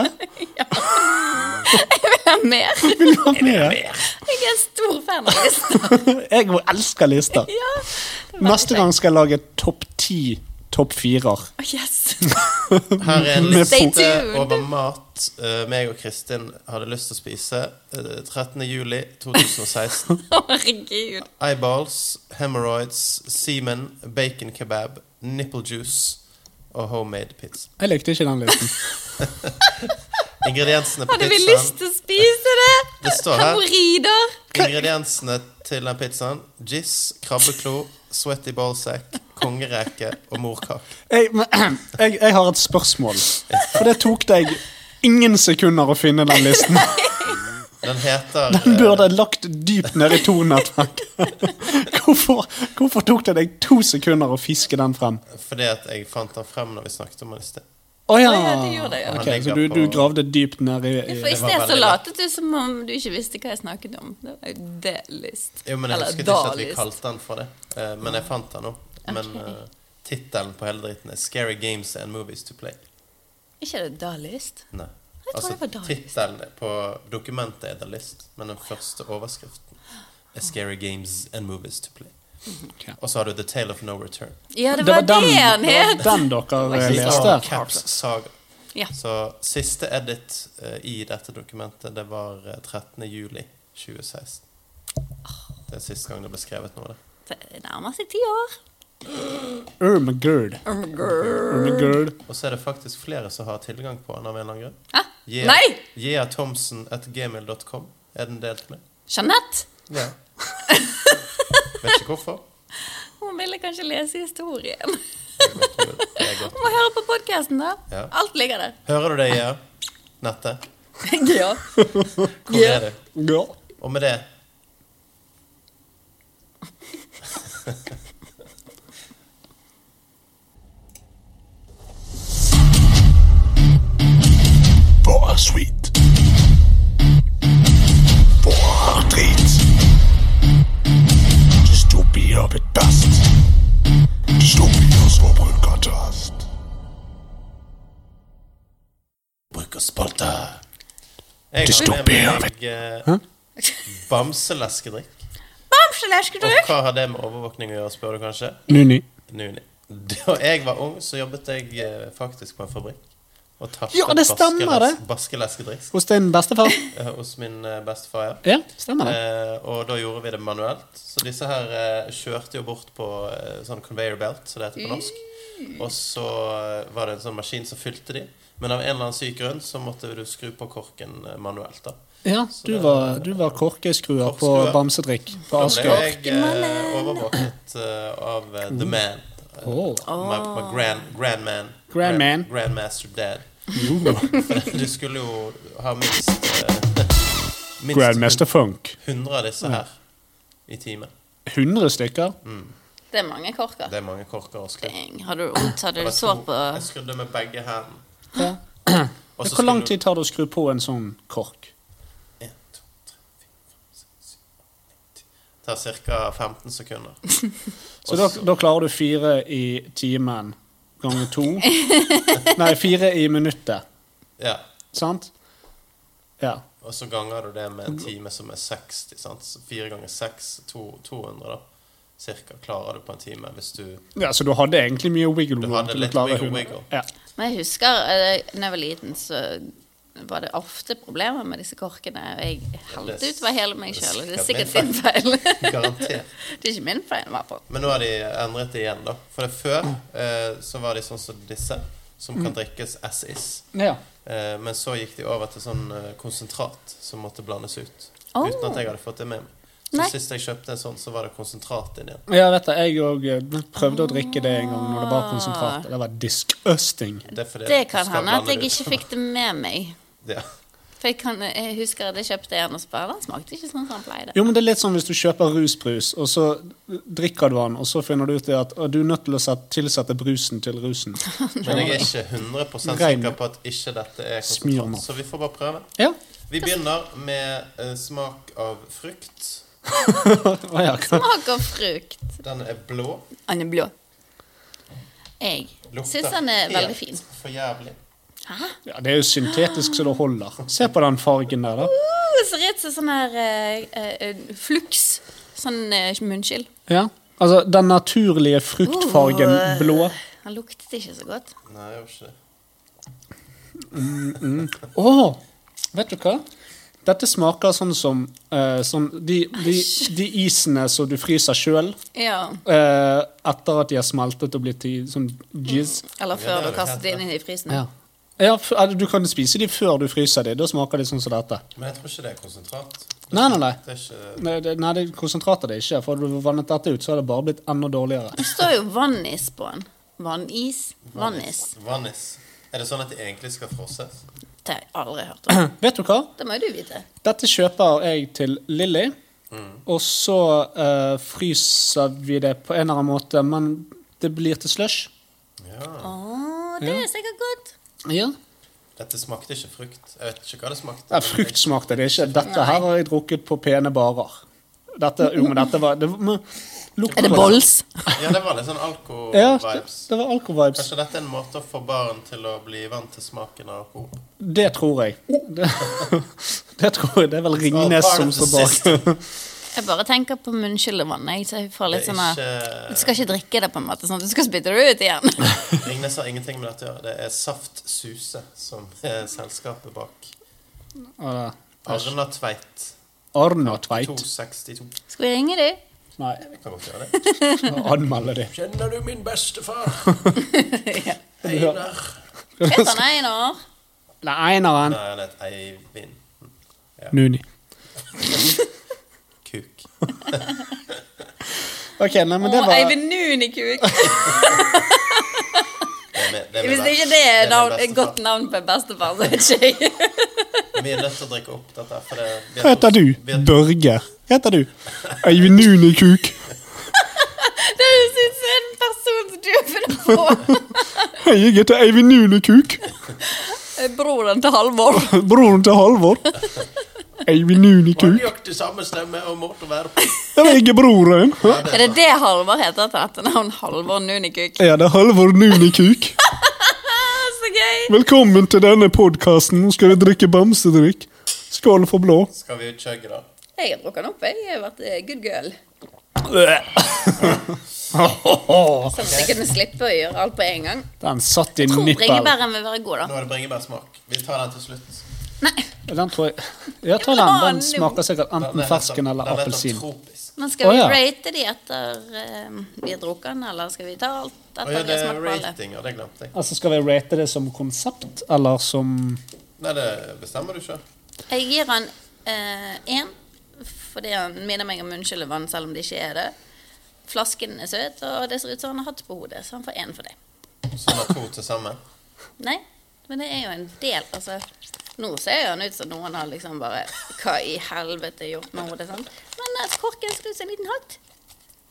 Speaker 2: er mer?
Speaker 1: Vil du ha mer?
Speaker 2: Jeg er en stor fan av lister.
Speaker 1: Jeg elsker lister.
Speaker 2: Ja.
Speaker 1: Neste gang skal jeg lage topp ti topp firer.
Speaker 2: Å, yes!
Speaker 3: Her er en
Speaker 1: Med
Speaker 2: Stay
Speaker 3: liste
Speaker 2: tuned.
Speaker 3: over mat eh, meg og Kristin hadde lyst til å spise. Eh, 13. juli 2016.
Speaker 2: Herregud.
Speaker 3: Eyeballs, hemorrhoids, semen, bacon kebab, nipple juice og homemade pizza.
Speaker 1: Jeg likte ikke den listen.
Speaker 3: Ingrediensene på
Speaker 2: Hadde vi
Speaker 3: pizzaen
Speaker 2: lyst til å spise det?
Speaker 3: sånn- Det står her.
Speaker 2: Hemoroider.
Speaker 3: Ingrediensene til den pizzaen Giss, krabbeklo, sweaty ballsack, kongereke og morkake.
Speaker 1: Jeg, men, jeg, jeg har et spørsmål. For det tok deg ingen sekunder å finne den listen.
Speaker 3: Den heter
Speaker 1: Den burde jeg lagt dypt ned i Tor-nettverket. Hvorfor, hvorfor tok det deg to sekunder å fiske den frem?
Speaker 3: eh, Fordi at jeg fant den frem når vi snakket om den i sted.
Speaker 1: Å ja!
Speaker 2: Å ja, det gjorde jeg, ja.
Speaker 1: Ok, så du, du gravde dypt ned i,
Speaker 2: For
Speaker 1: i
Speaker 2: I
Speaker 3: var
Speaker 2: sted så
Speaker 3: veldig
Speaker 2: latet du som om du ikke visste hva jeg snakket om. Det var jo det list.
Speaker 3: Jo, men jeg
Speaker 2: Eller
Speaker 3: husket ikke at vi
Speaker 2: da-list.
Speaker 3: kalte den for det. Eh, Men jeg fant den nå. Men eh, tittelen på hele dritten er 'Scary Games and Movies to Play'.
Speaker 2: Ikke er det da-list?
Speaker 3: Nei.
Speaker 2: Jeg tror
Speaker 3: Altså,
Speaker 2: det var da-list.
Speaker 3: tittelen på dokumentet er 'The List', men den første overskriften er 'Scary Games and Movies to Play'.
Speaker 2: Mhm.
Speaker 3: Og så har du 'The Tale of No Return'.
Speaker 2: Ja, det var det han
Speaker 1: det var
Speaker 2: het!
Speaker 1: den dere
Speaker 2: var
Speaker 1: eh,
Speaker 2: ikke
Speaker 3: Siste
Speaker 1: leste.
Speaker 3: var Caps Saga.
Speaker 2: Ja.
Speaker 3: Så siste edit eh, i dette dokumentet, det var eh, 13. juli 2016. Det er siste gang det ble skrevet noe. Det.
Speaker 2: Det nærmer seg ti år.
Speaker 1: Ermagerd.
Speaker 2: Oh
Speaker 1: Ermagerd.
Speaker 3: Og så er det faktisk flere som har tilgang på den av en eller annen grunn.
Speaker 2: Hæ?
Speaker 3: Jea-
Speaker 2: Nei!
Speaker 3: Jea Thomsen at gmail.com er den delt med.
Speaker 2: Jeanette!
Speaker 3: Ja. Vet ikke hvorfor.
Speaker 2: Hun ville kanskje lese historien.
Speaker 3: Det er godt.
Speaker 2: Må høre på podkasten, da.
Speaker 3: Ja.
Speaker 2: Alt ligger der.
Speaker 3: Hører du det, Jea? Nette?
Speaker 2: ja.
Speaker 3: Hvor
Speaker 2: Ja.
Speaker 3: er du?
Speaker 1: Ja.
Speaker 3: Og med det
Speaker 5: Bare sweet. Bare drit. Dystopier bedast. Dystopier som bruker tast.
Speaker 3: Brukerspalta. Jeg har
Speaker 5: Dystopier,
Speaker 3: med meg eh, bamseleskedrikk. Og
Speaker 2: Bamseleskedrykk!
Speaker 3: hva har det med overvåkning å gjøre, spør du kanskje?
Speaker 1: Nuni.
Speaker 3: Nuni. Da jeg var ung, så jobbet jeg eh, faktisk på en fabrikk. Og tapte
Speaker 1: Ja, det stemmer, det.
Speaker 3: baskeles- baskeleskedrikk
Speaker 1: Hos din bestefar.
Speaker 3: eh, hos min eh, bestefar. ja.
Speaker 1: Ja, stemmer det.
Speaker 3: Eh, og da gjorde vi det manuelt. Så disse her eh, kjørte jo bort på eh, sånn conveyor belt, som det heter på norsk. Og så eh, var det en sånn maskin som fylte de. Men av en eller annen syk grunn så måtte du skru på korken eh, manuelt. da
Speaker 1: Ja, du var, du var korkeskruer på
Speaker 3: Korkskruer.
Speaker 1: bamsedrikk på
Speaker 3: Da ble
Speaker 1: Asker.
Speaker 3: jeg eh, overvåket eh, av eh, The Man. Eh,
Speaker 1: Oh.
Speaker 3: My, my grand, grand man.
Speaker 1: Grand man.
Speaker 3: Grandmaster Dad. For du skulle jo ha minst eh, Minst
Speaker 1: Grandmaster Funk.
Speaker 3: 100 av disse her i timen.
Speaker 1: 100 stykker.
Speaker 2: Det er mange korker.
Speaker 3: Det er sånn- mange korker å skru.
Speaker 2: Dang. Har du vondt? Har du
Speaker 3: Jeg
Speaker 2: sår på
Speaker 3: skrudde- Jeg skrudde med begge hendene.
Speaker 1: Ja.
Speaker 3: Og så
Speaker 1: Hvor lang
Speaker 3: skulle-
Speaker 1: tid tar det å skru på en sånn kork?
Speaker 3: En, to, tre, fire, fem, seks, syv, åtte, ni, ti. Det tar ca. 15 sekunder.
Speaker 1: Så da, da klarer du fire i timen ganger to. Nei, fire i minuttet.
Speaker 3: Ja.
Speaker 1: Sant? Ja.
Speaker 3: Og så ganger du det med en time som er 60. Sant? Så 4 ganger 6 to, 200, da. Cirka klarer du på en time hvis du
Speaker 1: ja. Så du hadde egentlig mye wiggle
Speaker 3: Du
Speaker 1: room
Speaker 3: hadde
Speaker 1: til å
Speaker 3: litt
Speaker 1: klare
Speaker 3: wiggle,
Speaker 1: 100.
Speaker 3: wiggle.
Speaker 1: Ja.
Speaker 2: Men jeg husker eh, da jeg var liten, så var det ofte problemer med disse korkene. Og jeg helte ut var hele meg sjøl, og det er sikkert din feil.
Speaker 3: Garantert.
Speaker 2: det er ikke min feil, i hvert fall.
Speaker 3: Men nå har de endret det igjen, da. For det før eh, så var de sånn som disse, som
Speaker 2: Mm.
Speaker 3: kan drikkes as is.
Speaker 1: Ja.
Speaker 3: Eh, men så gikk de over til sånn eh, konsentrat som måtte blandes ut.
Speaker 2: Oh.
Speaker 3: Uten at jeg hadde fått det med meg. Så
Speaker 2: Nei.
Speaker 3: sist jeg kjøpte en sånn, så var det konsentrat inni den.
Speaker 1: Ja, vet du, jeg òg eh, prøvde å drikke det en gang når det
Speaker 3: Ah.
Speaker 1: var konsentrat. Det var disgusting.
Speaker 3: Det, er fordi
Speaker 2: Det
Speaker 3: du
Speaker 2: kan
Speaker 3: skal
Speaker 2: hende at
Speaker 3: blande
Speaker 2: jeg
Speaker 3: det
Speaker 2: ikke
Speaker 3: ut.
Speaker 2: fikk det med meg.
Speaker 3: Ja.
Speaker 2: For jeg, kan, jeg husker at jeg kjøpte en og så bare Den smakte ikke sånn som den pleide.
Speaker 1: Jo, men det er litt sånn hvis du kjøper rusbrus, og så drikker du den, og så finner du ut det at å, du er nødt til å set- tilsette brusen til rusen.
Speaker 3: Men jeg er ikke 100
Speaker 1: Rein.
Speaker 3: sikker på at ikke dette er
Speaker 1: Smyrna.
Speaker 3: konsentrat, så vi får bare prøve.
Speaker 1: Ja.
Speaker 3: Vi begynner med eh, smak av frukt.
Speaker 1: Å, ja. hva-
Speaker 2: Smak av frukt.
Speaker 3: Den er blå.
Speaker 2: Den er blå. Jeg syns den er
Speaker 3: helt
Speaker 2: veldig fin.
Speaker 3: For jævlig.
Speaker 2: Hæ?
Speaker 1: ja, det er jo syntetisk så det holder. Se på den fargen der, da.
Speaker 2: Uh, ser ut som sånn her eh, eh, flux. Sånn eh, munnskyld.
Speaker 1: Ja. Altså, den naturlige fruktfargen blå
Speaker 2: Uh. Han luktet ikke så godt.
Speaker 3: Nei, jeg gjorde ikke det.
Speaker 1: Å! vet du hva? Dette smaker sånn som eh, sånn de, de, de isene som du fryser sjøl
Speaker 2: Ja.
Speaker 1: etter at de har smeltet og blitt til som jizz.
Speaker 2: Eller
Speaker 3: Ja, det
Speaker 2: før
Speaker 3: er
Speaker 2: du
Speaker 3: det
Speaker 2: kastet
Speaker 3: helt
Speaker 2: det inn i frysen.
Speaker 1: Ja. Ja, f- eller du kan spise de før du fryser de. Da smaker de sånn som dette.
Speaker 3: Men jeg tror ikke det er konsentrat.
Speaker 1: Nei, nei, nei.
Speaker 3: Det er ikke
Speaker 1: Nei, det, nei, det konsentratet det ikke. For hadde du vannet dette ut, så hadde det bare blitt enda dårligere.
Speaker 2: Det står jo vannis på den. Vannis. Vannis.
Speaker 3: vannis. Er det sånn at de egentlig skal frosses?
Speaker 2: Det har jeg aldri hørt om.
Speaker 1: Vet du hva?
Speaker 2: Det må jo du vite.
Speaker 1: Dette kjøper jeg til Lilly. Og så eh, fryser vi det på en eller annen måte, men det blir til slush.
Speaker 3: Ja.
Speaker 2: Å, det er sikkert godt.
Speaker 1: Ja.
Speaker 3: Dette smakte ikke frukt. Jeg vet ikke hva det smakte.
Speaker 1: Ja,
Speaker 3: men
Speaker 1: frukt
Speaker 3: det-
Speaker 1: smakte det ikke. Dette her har jeg drukket på pene barer. Dette, jo, men dette var det, var- men, lukt på
Speaker 3: Ja, det var litt sånn
Speaker 1: det. Ja, det,
Speaker 3: alko-vibes.
Speaker 1: det var alkovibes.
Speaker 3: Kanskje dette er en måte å få barn til å bli vant til smaken av alkohol.
Speaker 1: Det tror jeg. Det, det tror jeg. Det er vel Ringnes
Speaker 3: part
Speaker 1: som
Speaker 3: of the
Speaker 1: står bak.
Speaker 2: Jeg bare tenker på munnskyllevann. Jeg, så jeg får
Speaker 3: Det
Speaker 2: litt
Speaker 3: er
Speaker 2: sånn her- Du
Speaker 3: ikke
Speaker 2: skal ikke drikke det, på en måte. Sånn. at Du skal spytte det ut igjen.
Speaker 3: Ringnes har ingenting med dette å gjøre. Det er Saft Suse som er selskapet bak.
Speaker 1: Ja,
Speaker 3: Arna Tveit
Speaker 1: Arna Tveit.
Speaker 3: 262.
Speaker 2: Skal vi ringe dem?
Speaker 1: Nei,
Speaker 3: Jeg kan godt gjøre det.
Speaker 1: anmelde det.
Speaker 3: Kjenner du min bestefar?
Speaker 1: Einar.
Speaker 2: Heter han Einar?
Speaker 1: Nei, Einaren.
Speaker 3: Nei, han het Eivind
Speaker 1: Nuni.
Speaker 3: Kuk.
Speaker 1: Ok, nei, men det
Speaker 2: Å,
Speaker 1: var
Speaker 2: Eivind Nunikuk.
Speaker 3: Det er min- er min
Speaker 2: Hvis det ikke
Speaker 3: best-
Speaker 2: det er
Speaker 3: min
Speaker 2: navn, et
Speaker 3: bestefar.
Speaker 2: godt navn på en bestefar, så vet ikke jeg.
Speaker 3: Vi er nødt til å drikke opp dette. For det, vi er
Speaker 1: Hva heter
Speaker 3: to-
Speaker 1: du?
Speaker 3: Vi er,
Speaker 1: Børge. Hva heter du? Eivind Nuni Kuk.
Speaker 2: Det høres ut som en person som du har funnet på.
Speaker 1: Hei, jeg heter Eivind Nuni Kuk.
Speaker 2: Broren til Halvor.
Speaker 1: Broren til Halvor. Eivind Nuni
Speaker 3: vi har
Speaker 1: Kuk.
Speaker 3: nøyaktig samme stemme og måte å være på.
Speaker 1: Det var ikke broren.
Speaker 2: Er det det Halvor heter til etternavn? Halvor Nunikuk.
Speaker 1: Ja, det er Halvor Nuni Kuk.
Speaker 2: Ah, så gøy!
Speaker 1: Velkommen til denne podkasten. Nå skal vi drikke bamsedrikk. Skål for blå.
Speaker 3: Skal vi chugge, da?
Speaker 2: Jeg har drukket den opp, jeg. Jeg har vært eh, good girl. Sånn at jeg kunne slippe å gjøre alt på en gang.
Speaker 1: Den satt i
Speaker 2: Tror
Speaker 1: nippel.
Speaker 2: bringebæren vil være god,
Speaker 3: Nå er det bringebærsmak. Vi tar den til slutt.
Speaker 2: da. Nei.
Speaker 1: Den tror jeg Ja, ta den. Den smaker sikkert enten fersken eller
Speaker 3: den heter
Speaker 1: appelsin.
Speaker 3: tropisk.
Speaker 2: Men skal
Speaker 1: Å, ja.
Speaker 2: vi rate de etter eh, vi har drukket den, eller skal vi ta alt
Speaker 3: Å
Speaker 2: etter
Speaker 3: ja,
Speaker 2: vi
Speaker 3: det
Speaker 2: har
Speaker 3: er
Speaker 2: smakt på alle?
Speaker 3: rating, og det glemte jeg.
Speaker 1: Altså, Skal vi rate det som konsept, eller som
Speaker 3: Nei, det bestemmer du sjøl.
Speaker 2: Jeg gir han én, fordi han minner meg om munnskyllevann, selv om det ikke er det. Flasken er søt, og det ser ut som han har hatt på hodet, så han får én for det.
Speaker 3: Sånn er to til sammen.
Speaker 2: Nei, men det er jo en del, altså. Nå ser han ut som noen har liksom bare Hva i helvete gjort med hodet? Sant? Men eh, korken ser ut som en liten hatt.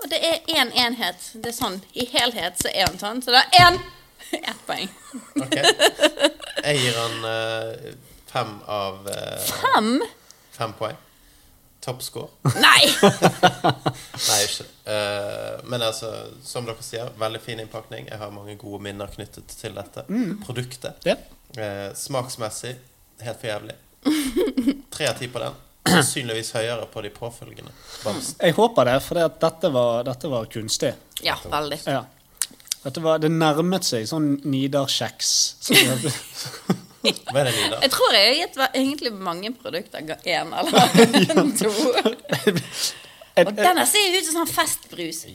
Speaker 2: Og det er én enhet. Det er sånn. I helhet så er han sånn. Så det er én! Ett poeng.
Speaker 3: Ok. Jeg gir han eh, fem av eh,
Speaker 2: Ham?
Speaker 3: fem poeng. Toppscore.
Speaker 2: Nei!
Speaker 3: Nei, ikke det. Eh, men altså, som dere sier, veldig fin innpakning. Jeg har mange gode minner knyttet til dette
Speaker 1: Mm.
Speaker 3: produktet.
Speaker 1: det?
Speaker 3: Eh, smaksmessig helt for jævlig. Tre av ti på den. Sannsynligvis høyere på de påfølgende. Bamsen.
Speaker 1: Jeg håper det, for dette, var- dette var kunstig.
Speaker 2: Ja, veldig.
Speaker 1: Ja. Dette var, det nærmet seg sånn Nidar-kjeks. som vi hadde-
Speaker 3: Hva er det, Nida?
Speaker 2: Jeg tror jeg har gitt hver- egentlig mange produkter én eller to.
Speaker 1: Er,
Speaker 2: Og
Speaker 1: er,
Speaker 2: denne ser ut som sånn festbrus. Give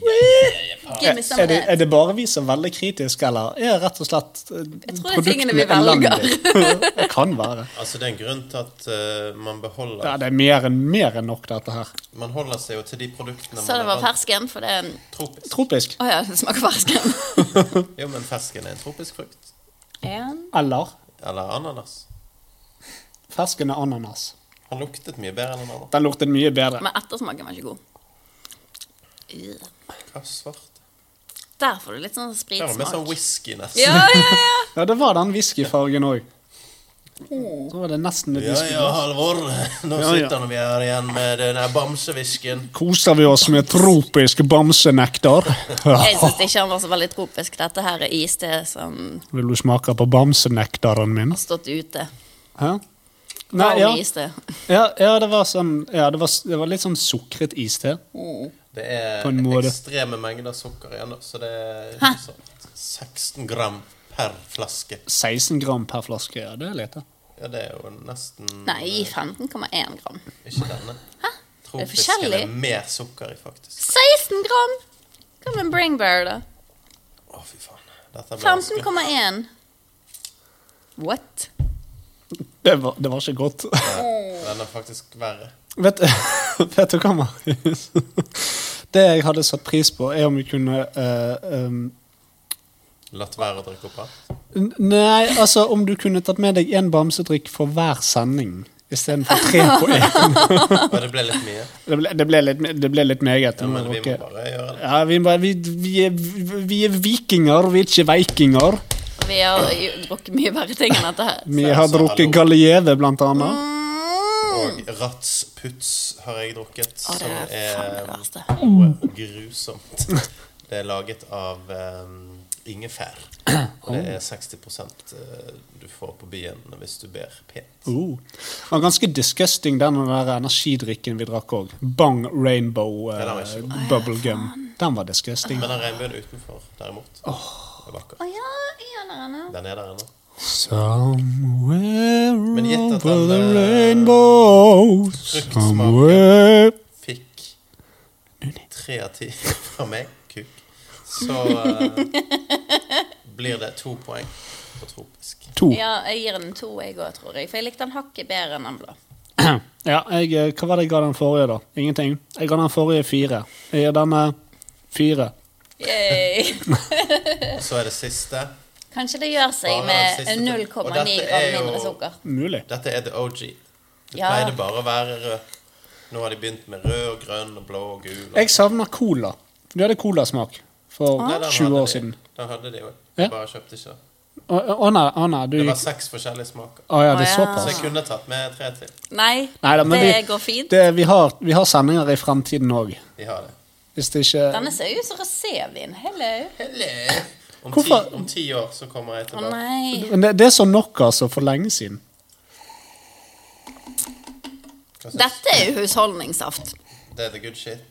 Speaker 1: er, er,
Speaker 2: me some
Speaker 1: det,
Speaker 2: of
Speaker 1: er
Speaker 2: that.
Speaker 1: det bare vi som er veldig kritiske, eller er rett og slett eh,
Speaker 2: tror det er tingene vi
Speaker 1: elendig? det kan være.
Speaker 3: Altså, det er en grunn til at eh, man beholder
Speaker 1: Ja, det er mer enn, mer enn nok, dette her.
Speaker 3: Man holder seg jo til de produktene
Speaker 2: Så det
Speaker 3: man
Speaker 2: var
Speaker 3: vant-
Speaker 2: fersken, for det er en
Speaker 3: tropisk.
Speaker 1: Tropisk.
Speaker 2: Å ja, det smaker fersken.
Speaker 3: Jo, men fersken er en tropisk frukt.
Speaker 2: En.
Speaker 1: Eller
Speaker 3: Eller ananas.
Speaker 1: fersken er ananas.
Speaker 3: Han luktet mye bedre enn den andre.
Speaker 1: Den lukter mye bedre.
Speaker 2: Men ettersmaken var ikke god. Øh.
Speaker 3: Hva svart?
Speaker 2: Der får du litt sånn
Speaker 3: Det var mer sånn
Speaker 2: spritsmak.
Speaker 3: whisky, nesten.
Speaker 2: Ja, ja, ja.
Speaker 1: Ja, det var den whiskyfargen òg. Så var det nesten litt
Speaker 3: Ja,
Speaker 1: whisky.
Speaker 3: ja, Halvor. Nå
Speaker 1: Ja, ja.
Speaker 3: sitter vi her igjen med den her bamsehvisken.
Speaker 1: Koser vi oss med tropisk bamsenektar?
Speaker 2: Jeg syns ikke han var så veldig tropisk. Dette her er iste som
Speaker 1: Vil du smake på bamsenektaren min?
Speaker 2: har stått ute.
Speaker 1: Hæ? Nei,
Speaker 2: Varm
Speaker 1: ja.
Speaker 2: iste. Mm.
Speaker 1: Ja, ja, det var sånn, ja det, var, det var litt sånn sukret iste.
Speaker 3: Det
Speaker 1: På
Speaker 3: er
Speaker 1: en måte.
Speaker 3: ekstreme mengder sukker igjen, da, så det er sånn 16 gram per flaske.
Speaker 1: 16 gram per flaske, ja, det er lite.
Speaker 3: Ja, det er jo nesten eh,
Speaker 2: Nei, gi 15,1 gram.
Speaker 3: Ikke denne. Hæ?
Speaker 2: Er det forskjellig?
Speaker 3: er mer sukker i, faktisk.
Speaker 2: 16 gram! Hva med Bring Bear, da?
Speaker 3: Å, fy faen. Dette blir vanskelig.
Speaker 2: 15,1. What?
Speaker 1: Det var, det var ikke godt.
Speaker 3: Den er faktisk verre.
Speaker 1: vet, vet du hva, Marius? Det jeg hadde satt pris på, er om vi kunne eh, um,
Speaker 3: Latt være å drikke opp her.
Speaker 1: n- Nei, altså om du kunne tatt med deg én bamsedrikk for hver sending istedenfor tre på én.
Speaker 3: Og det ble litt mye.
Speaker 1: Det ble, det ble, litt, det ble litt meget.
Speaker 3: Ja, men vi må
Speaker 1: Ok.
Speaker 3: bare gjøre det.
Speaker 1: Ja, vi, må bare- vi, vi, er, vi er vikinger, vi er ikke vikinger.
Speaker 2: Vi har jo drukket mye verre ting enn dette her.
Speaker 1: Vi har
Speaker 3: Så,
Speaker 1: drukket
Speaker 3: altså, hallo.
Speaker 1: Gallieve, blant annet.
Speaker 3: Og ratsputs har jeg drukket,
Speaker 2: Å, det
Speaker 3: som
Speaker 2: er faen det
Speaker 3: er
Speaker 2: verste.
Speaker 3: noe grusomt. Det er laget av um, ingefær. Og det er 60 eh, du får på byen hvis du ber pent.
Speaker 1: Oh. Det var ganske disgusting, den der energidrikken vi drakk òg. Bang Rainbow eh,
Speaker 3: Ja, den var ikke
Speaker 1: Bubblegum. Den var disgusting.
Speaker 3: Men den regnbuen utenfor, derimot, er vakker.
Speaker 2: Å ja, ja, der er noe.
Speaker 3: Den er der ennå.
Speaker 1: Somewhere
Speaker 3: Men gitt at
Speaker 1: over the
Speaker 3: den, eh,
Speaker 1: rainbow
Speaker 3: fruktsmaken-
Speaker 1: Somewhere
Speaker 3: Fikk tre av ti fra meg, kuk. Så eh, blir det to poeng på tropisk.
Speaker 1: To.
Speaker 2: Ja, jeg gir den to, jeg òg, tror jeg. For jeg likte den hakket bedre enn den blå.
Speaker 1: Ja, jeg, eh, hva var det jeg ga den forrige, da? Ingenting. Jeg ga den forrige fire. Jeg gir denne fire.
Speaker 2: Yay.
Speaker 3: Og så er det siste.
Speaker 2: Kanskje det gjør
Speaker 3: Ja,
Speaker 2: seg
Speaker 3: den
Speaker 2: med
Speaker 3: siste-
Speaker 2: 0,9
Speaker 3: Og
Speaker 2: gram
Speaker 3: dette er jo-
Speaker 2: mindre sukker.
Speaker 1: Mulig.
Speaker 3: Dette er the OG. Det
Speaker 2: Ja.
Speaker 3: pleide bare å være rød. Nå har de begynt med rød og grønn og blå og gul.
Speaker 1: Jeg savner cola. Du hadde colasmak for
Speaker 2: Ah.
Speaker 3: Nei, den
Speaker 1: 20
Speaker 3: hadde
Speaker 1: år
Speaker 3: de.
Speaker 1: siden.
Speaker 3: Den hadde de jo.
Speaker 1: Ja.
Speaker 3: Jeg bare kjøpte ikke. det.
Speaker 1: Å å nei, å nei, du
Speaker 3: Det
Speaker 1: gikk
Speaker 3: var seks forskjellige smaker.
Speaker 1: Å ja, det er
Speaker 2: Å ja.
Speaker 1: såpass.
Speaker 3: Så jeg kunne tatt med tre til.
Speaker 2: Nei,
Speaker 1: Neida, men
Speaker 2: det
Speaker 1: vi-
Speaker 2: går fint.
Speaker 1: Det, vi, har, vi har sendinger i fremtiden òg.
Speaker 3: De har det.
Speaker 1: Hvis det ikke
Speaker 2: Denne ser jo ut som rosévin. Hello.
Speaker 3: Hello. Om ti,
Speaker 1: Hvorfor-
Speaker 3: om ti år så kommer jeg
Speaker 2: Å
Speaker 3: tilbake.
Speaker 2: nei.
Speaker 1: Men det, det er sånn nok, altså, for lenge siden.
Speaker 3: Hva syns du?
Speaker 2: Dette er jo husholdningssaft.
Speaker 3: Det er the good shit.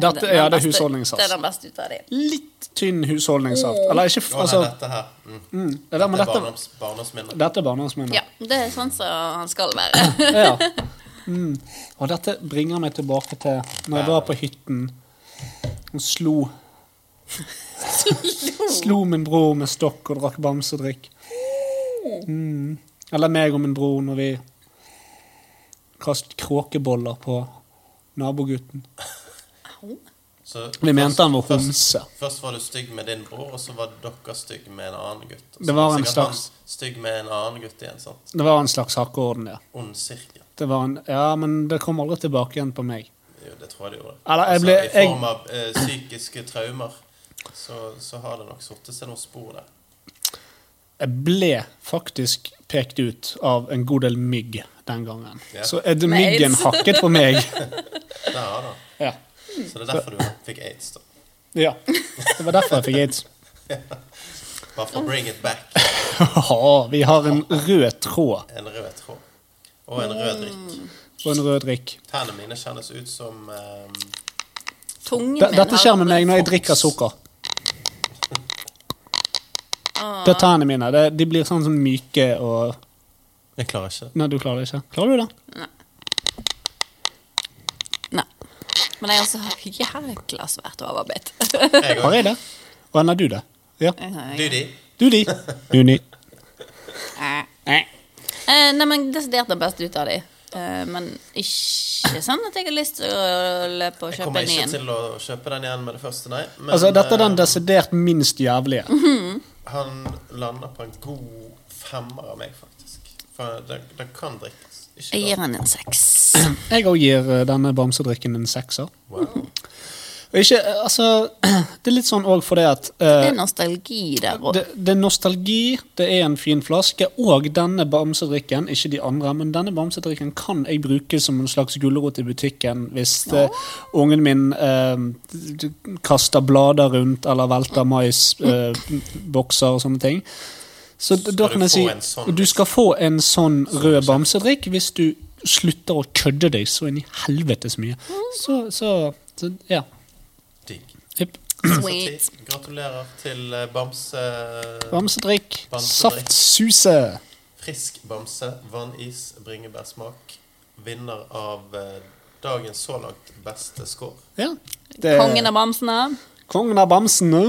Speaker 1: Dette
Speaker 2: Den
Speaker 1: ja, det er
Speaker 2: beste- Det er
Speaker 1: husholdningssaft.
Speaker 2: den beste ut av de.
Speaker 1: Litt tynn husholdningssaft. Eller ikke f-
Speaker 3: Å
Speaker 1: Altså,
Speaker 3: nei, dette her. Mm.
Speaker 1: det der, men
Speaker 3: Det
Speaker 1: dette,
Speaker 3: er barndoms, barndomsminner.
Speaker 1: dette er barndomsminner.
Speaker 2: Ja, det er sånn som han skal være.
Speaker 1: Ja. Mm. Og dette bringer meg tilbake til når jeg var på hytten og slo Slo min bror med stokk og drakk bamsedrikk. Mm. Eller meg og min bror når vi kastet kråkeboller på nabogutten.
Speaker 3: Så
Speaker 1: Vi mente han var
Speaker 3: først-
Speaker 1: homse.
Speaker 3: Først var du stygg med din bror, og så var dere stygg med en annen gutt. Og så
Speaker 1: Det var en
Speaker 3: sikkert
Speaker 1: slags-
Speaker 3: han Stygg med en annen gutt igjen. sant?
Speaker 1: Det var en slags hakkeorden, ja.
Speaker 3: Ond sirkel.
Speaker 1: Det var en, ja, men det kom aldri tilbake igjen på meg.
Speaker 3: Jo, det tror jeg det gjorde.
Speaker 1: Eller, jeg ble-
Speaker 3: altså, I form av eh, psykiske traumer så, så har det nok satt seg noen spor der.
Speaker 1: Jeg ble faktisk pekt ut av en god del mygg den gangen.
Speaker 3: Ja.
Speaker 1: Så er det
Speaker 2: Med
Speaker 1: myggen
Speaker 2: aids.
Speaker 1: hakket på meg.
Speaker 3: Det har det.
Speaker 1: Ja.
Speaker 3: Så det er derfor du fikk aids. da.
Speaker 1: ja. Det var derfor jeg fikk aids.
Speaker 3: Bare for å bring it back.
Speaker 1: Haha, vi har en rød tråd
Speaker 3: En rød tråd. Og en rød drikk.
Speaker 1: og en rød drikk.
Speaker 3: Tennene mine kjennes ut som eh,
Speaker 2: Tungen
Speaker 1: D
Speaker 2: min
Speaker 1: dette skjer med
Speaker 2: aldri-
Speaker 1: meg når jeg drikker sukker. Det er tennene mine. Det, de blir sånn som myke og
Speaker 3: Jeg klarer ikke det.
Speaker 1: Nei, du klarer det ikke. Klarer du det?
Speaker 2: Nei. Men jeg har også jækla svært overbitt.
Speaker 3: Jeg
Speaker 1: Har
Speaker 3: òg.
Speaker 1: jeg det? Og er du det? Ja.
Speaker 3: Dudi.
Speaker 1: Du, de. Juni. Nei.
Speaker 2: Eh, nei, men desidert den beste ut av de. Eh, men ikke sånn at jeg har lyst til å løpe og
Speaker 3: Jeg
Speaker 2: kjøpe
Speaker 3: kommer
Speaker 2: en
Speaker 3: ikke
Speaker 2: igjen.
Speaker 3: til å kjøpe den igjen med det første, nei. Men,
Speaker 1: Altså, dette er
Speaker 3: eh,
Speaker 1: den desidert minst jævlige.
Speaker 3: Han lander på en god femmer av meg, faktisk. For det, det kan drikkes. Ikke
Speaker 2: Jeg
Speaker 3: da.
Speaker 2: gir han en seks.
Speaker 1: Jeg òg gir eh, denne bamsedrikken en sekser.
Speaker 3: Wow.
Speaker 1: Og ikke, eh, altså, det er litt sånn òg fordi at
Speaker 2: Det
Speaker 1: eh,
Speaker 2: er nostalgi der òg.
Speaker 1: det, det er nostalgi, det er en fin flaske, og denne bamsedrikken, ikke de andre, men denne bamsedrikken kan jeg bruke som en slags gulrot i butikken hvis eh, ungen min eh, d- d- kaster blader rundt eller velter maisbokser og sånne ting. Så d- da
Speaker 3: du
Speaker 1: kan jeg
Speaker 3: få
Speaker 1: si
Speaker 3: en sånn,
Speaker 1: du skal få en sånn rød bamsedrikk hvis du slutter å kødde deg så inn i helvetes mye.
Speaker 3: Mm.
Speaker 1: Så, så, så ja.
Speaker 3: Digg.
Speaker 1: Yep.
Speaker 2: Sweet.
Speaker 3: Så ti- Gratulerer til eh, Bamse eh,
Speaker 1: Bamsedrikk.
Speaker 3: Bamsedrikk.
Speaker 1: Saftsuse.
Speaker 3: Frisk Bamse. Vannis bringebærsmak. Vinner av eh, dagens så langt beste score.
Speaker 1: Ja. Det,
Speaker 2: Kongen av bamsene.
Speaker 1: kongen av bamsen nå.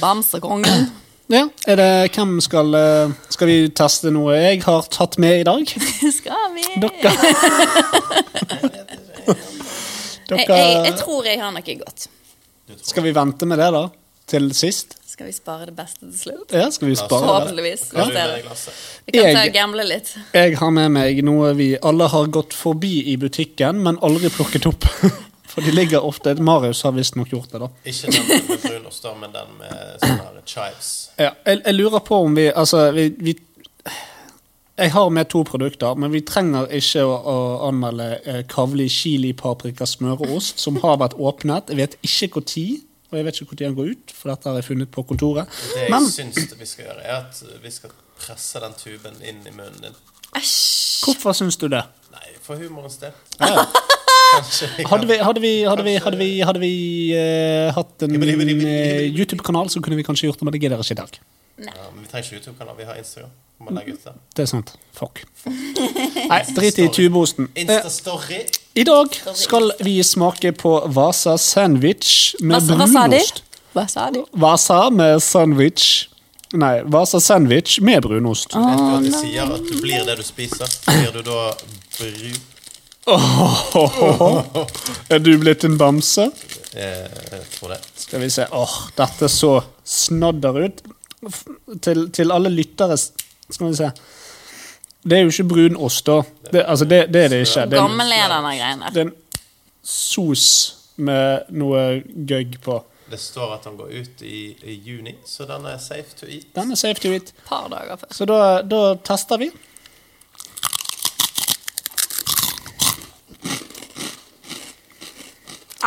Speaker 2: Bamsekongen.
Speaker 1: Ja, er det hvem skal eh, Skal vi teste noe jeg har tatt med i dag?
Speaker 2: Skal vi
Speaker 1: Dere
Speaker 2: jeg, jeg, jeg
Speaker 1: Dere
Speaker 2: tror jeg har noe godt.
Speaker 3: Du tror
Speaker 1: Skal vi vente med det, da? Til sist?
Speaker 2: Skal vi spare det beste til slutt?
Speaker 1: Ja, skal vi spare det?
Speaker 2: Forhåpentligvis.
Speaker 3: Hva har du
Speaker 2: Ser
Speaker 3: med
Speaker 2: det.
Speaker 3: deg, Lasse?
Speaker 2: Vi kan ta
Speaker 1: Jeg-
Speaker 2: og gamble litt.
Speaker 1: Jeg har med meg noe vi alle har gått forbi i butikken, men aldri plukket opp. For de ligger ofte Marius har visstnok gjort det, da.
Speaker 3: Ikke den med brunost, da, men den med sånne her chives.
Speaker 1: Ja, jeg, jeg lurer på om vi Altså, vi, vi Jeg har med to produkter, men vi trenger ikke å, å anmelde eh, kavli, chili, paprika, smøreost, som har vært åpnet. Jeg vet ikke når, og jeg vet ikke når den går ut, for dette har jeg funnet på kontoret.
Speaker 3: Det jeg
Speaker 1: Men
Speaker 3: syns vi skal gjøre, er at vi skal presse den tuben inn i munnen din.
Speaker 2: Æsj.
Speaker 1: hvorfor syns du det?
Speaker 3: Nei, for humorens del.
Speaker 1: Ja.
Speaker 3: Kanskje vi
Speaker 1: Hadde
Speaker 3: kan
Speaker 1: vi, hadde vi, hadde vi, hadde vi, hadde vi eh, hatt en eh, YouTube-kanal, så kunne vi kanskje gjort det, men det gidder jeg ikke i dag.
Speaker 3: ja, Men vi trenger ikke YouTube-kanal, vi har Instagram. Vi
Speaker 1: Mm.
Speaker 3: må legge ut det.
Speaker 1: Det er sant. Fuck. Nei, drit i tubeosten. Eh,
Speaker 3: Instastory.
Speaker 1: I dag skal vi smake på Vasa sandwich med
Speaker 2: Altså, Hva, hva sa de?
Speaker 1: brunost.
Speaker 2: Hva sa de?
Speaker 1: Vasa med sandwich Nei, Vasa sandwich med brunost. Åh,
Speaker 3: Vet du at de sier at du blir det du spiser? Blir du da bru...
Speaker 1: ho, ho, ho. Er du blitt en bamse?
Speaker 3: Eh, jeg tror det.
Speaker 1: Skal vi se. Åh, dette så snadder ut. F- Til, til alle lyttere s- Skal vi se. Det er jo ikke brun ost, da. Det, altså, det, det er det ikke. Det er en,
Speaker 2: Gammel er denne greien der.
Speaker 1: det er en sos med noe gøgg på.
Speaker 3: Det står at den går ut i, i juni, så den er safe to eat.
Speaker 1: Den er safe to eat.
Speaker 2: Et par dager før.
Speaker 1: Så da, da tester vi.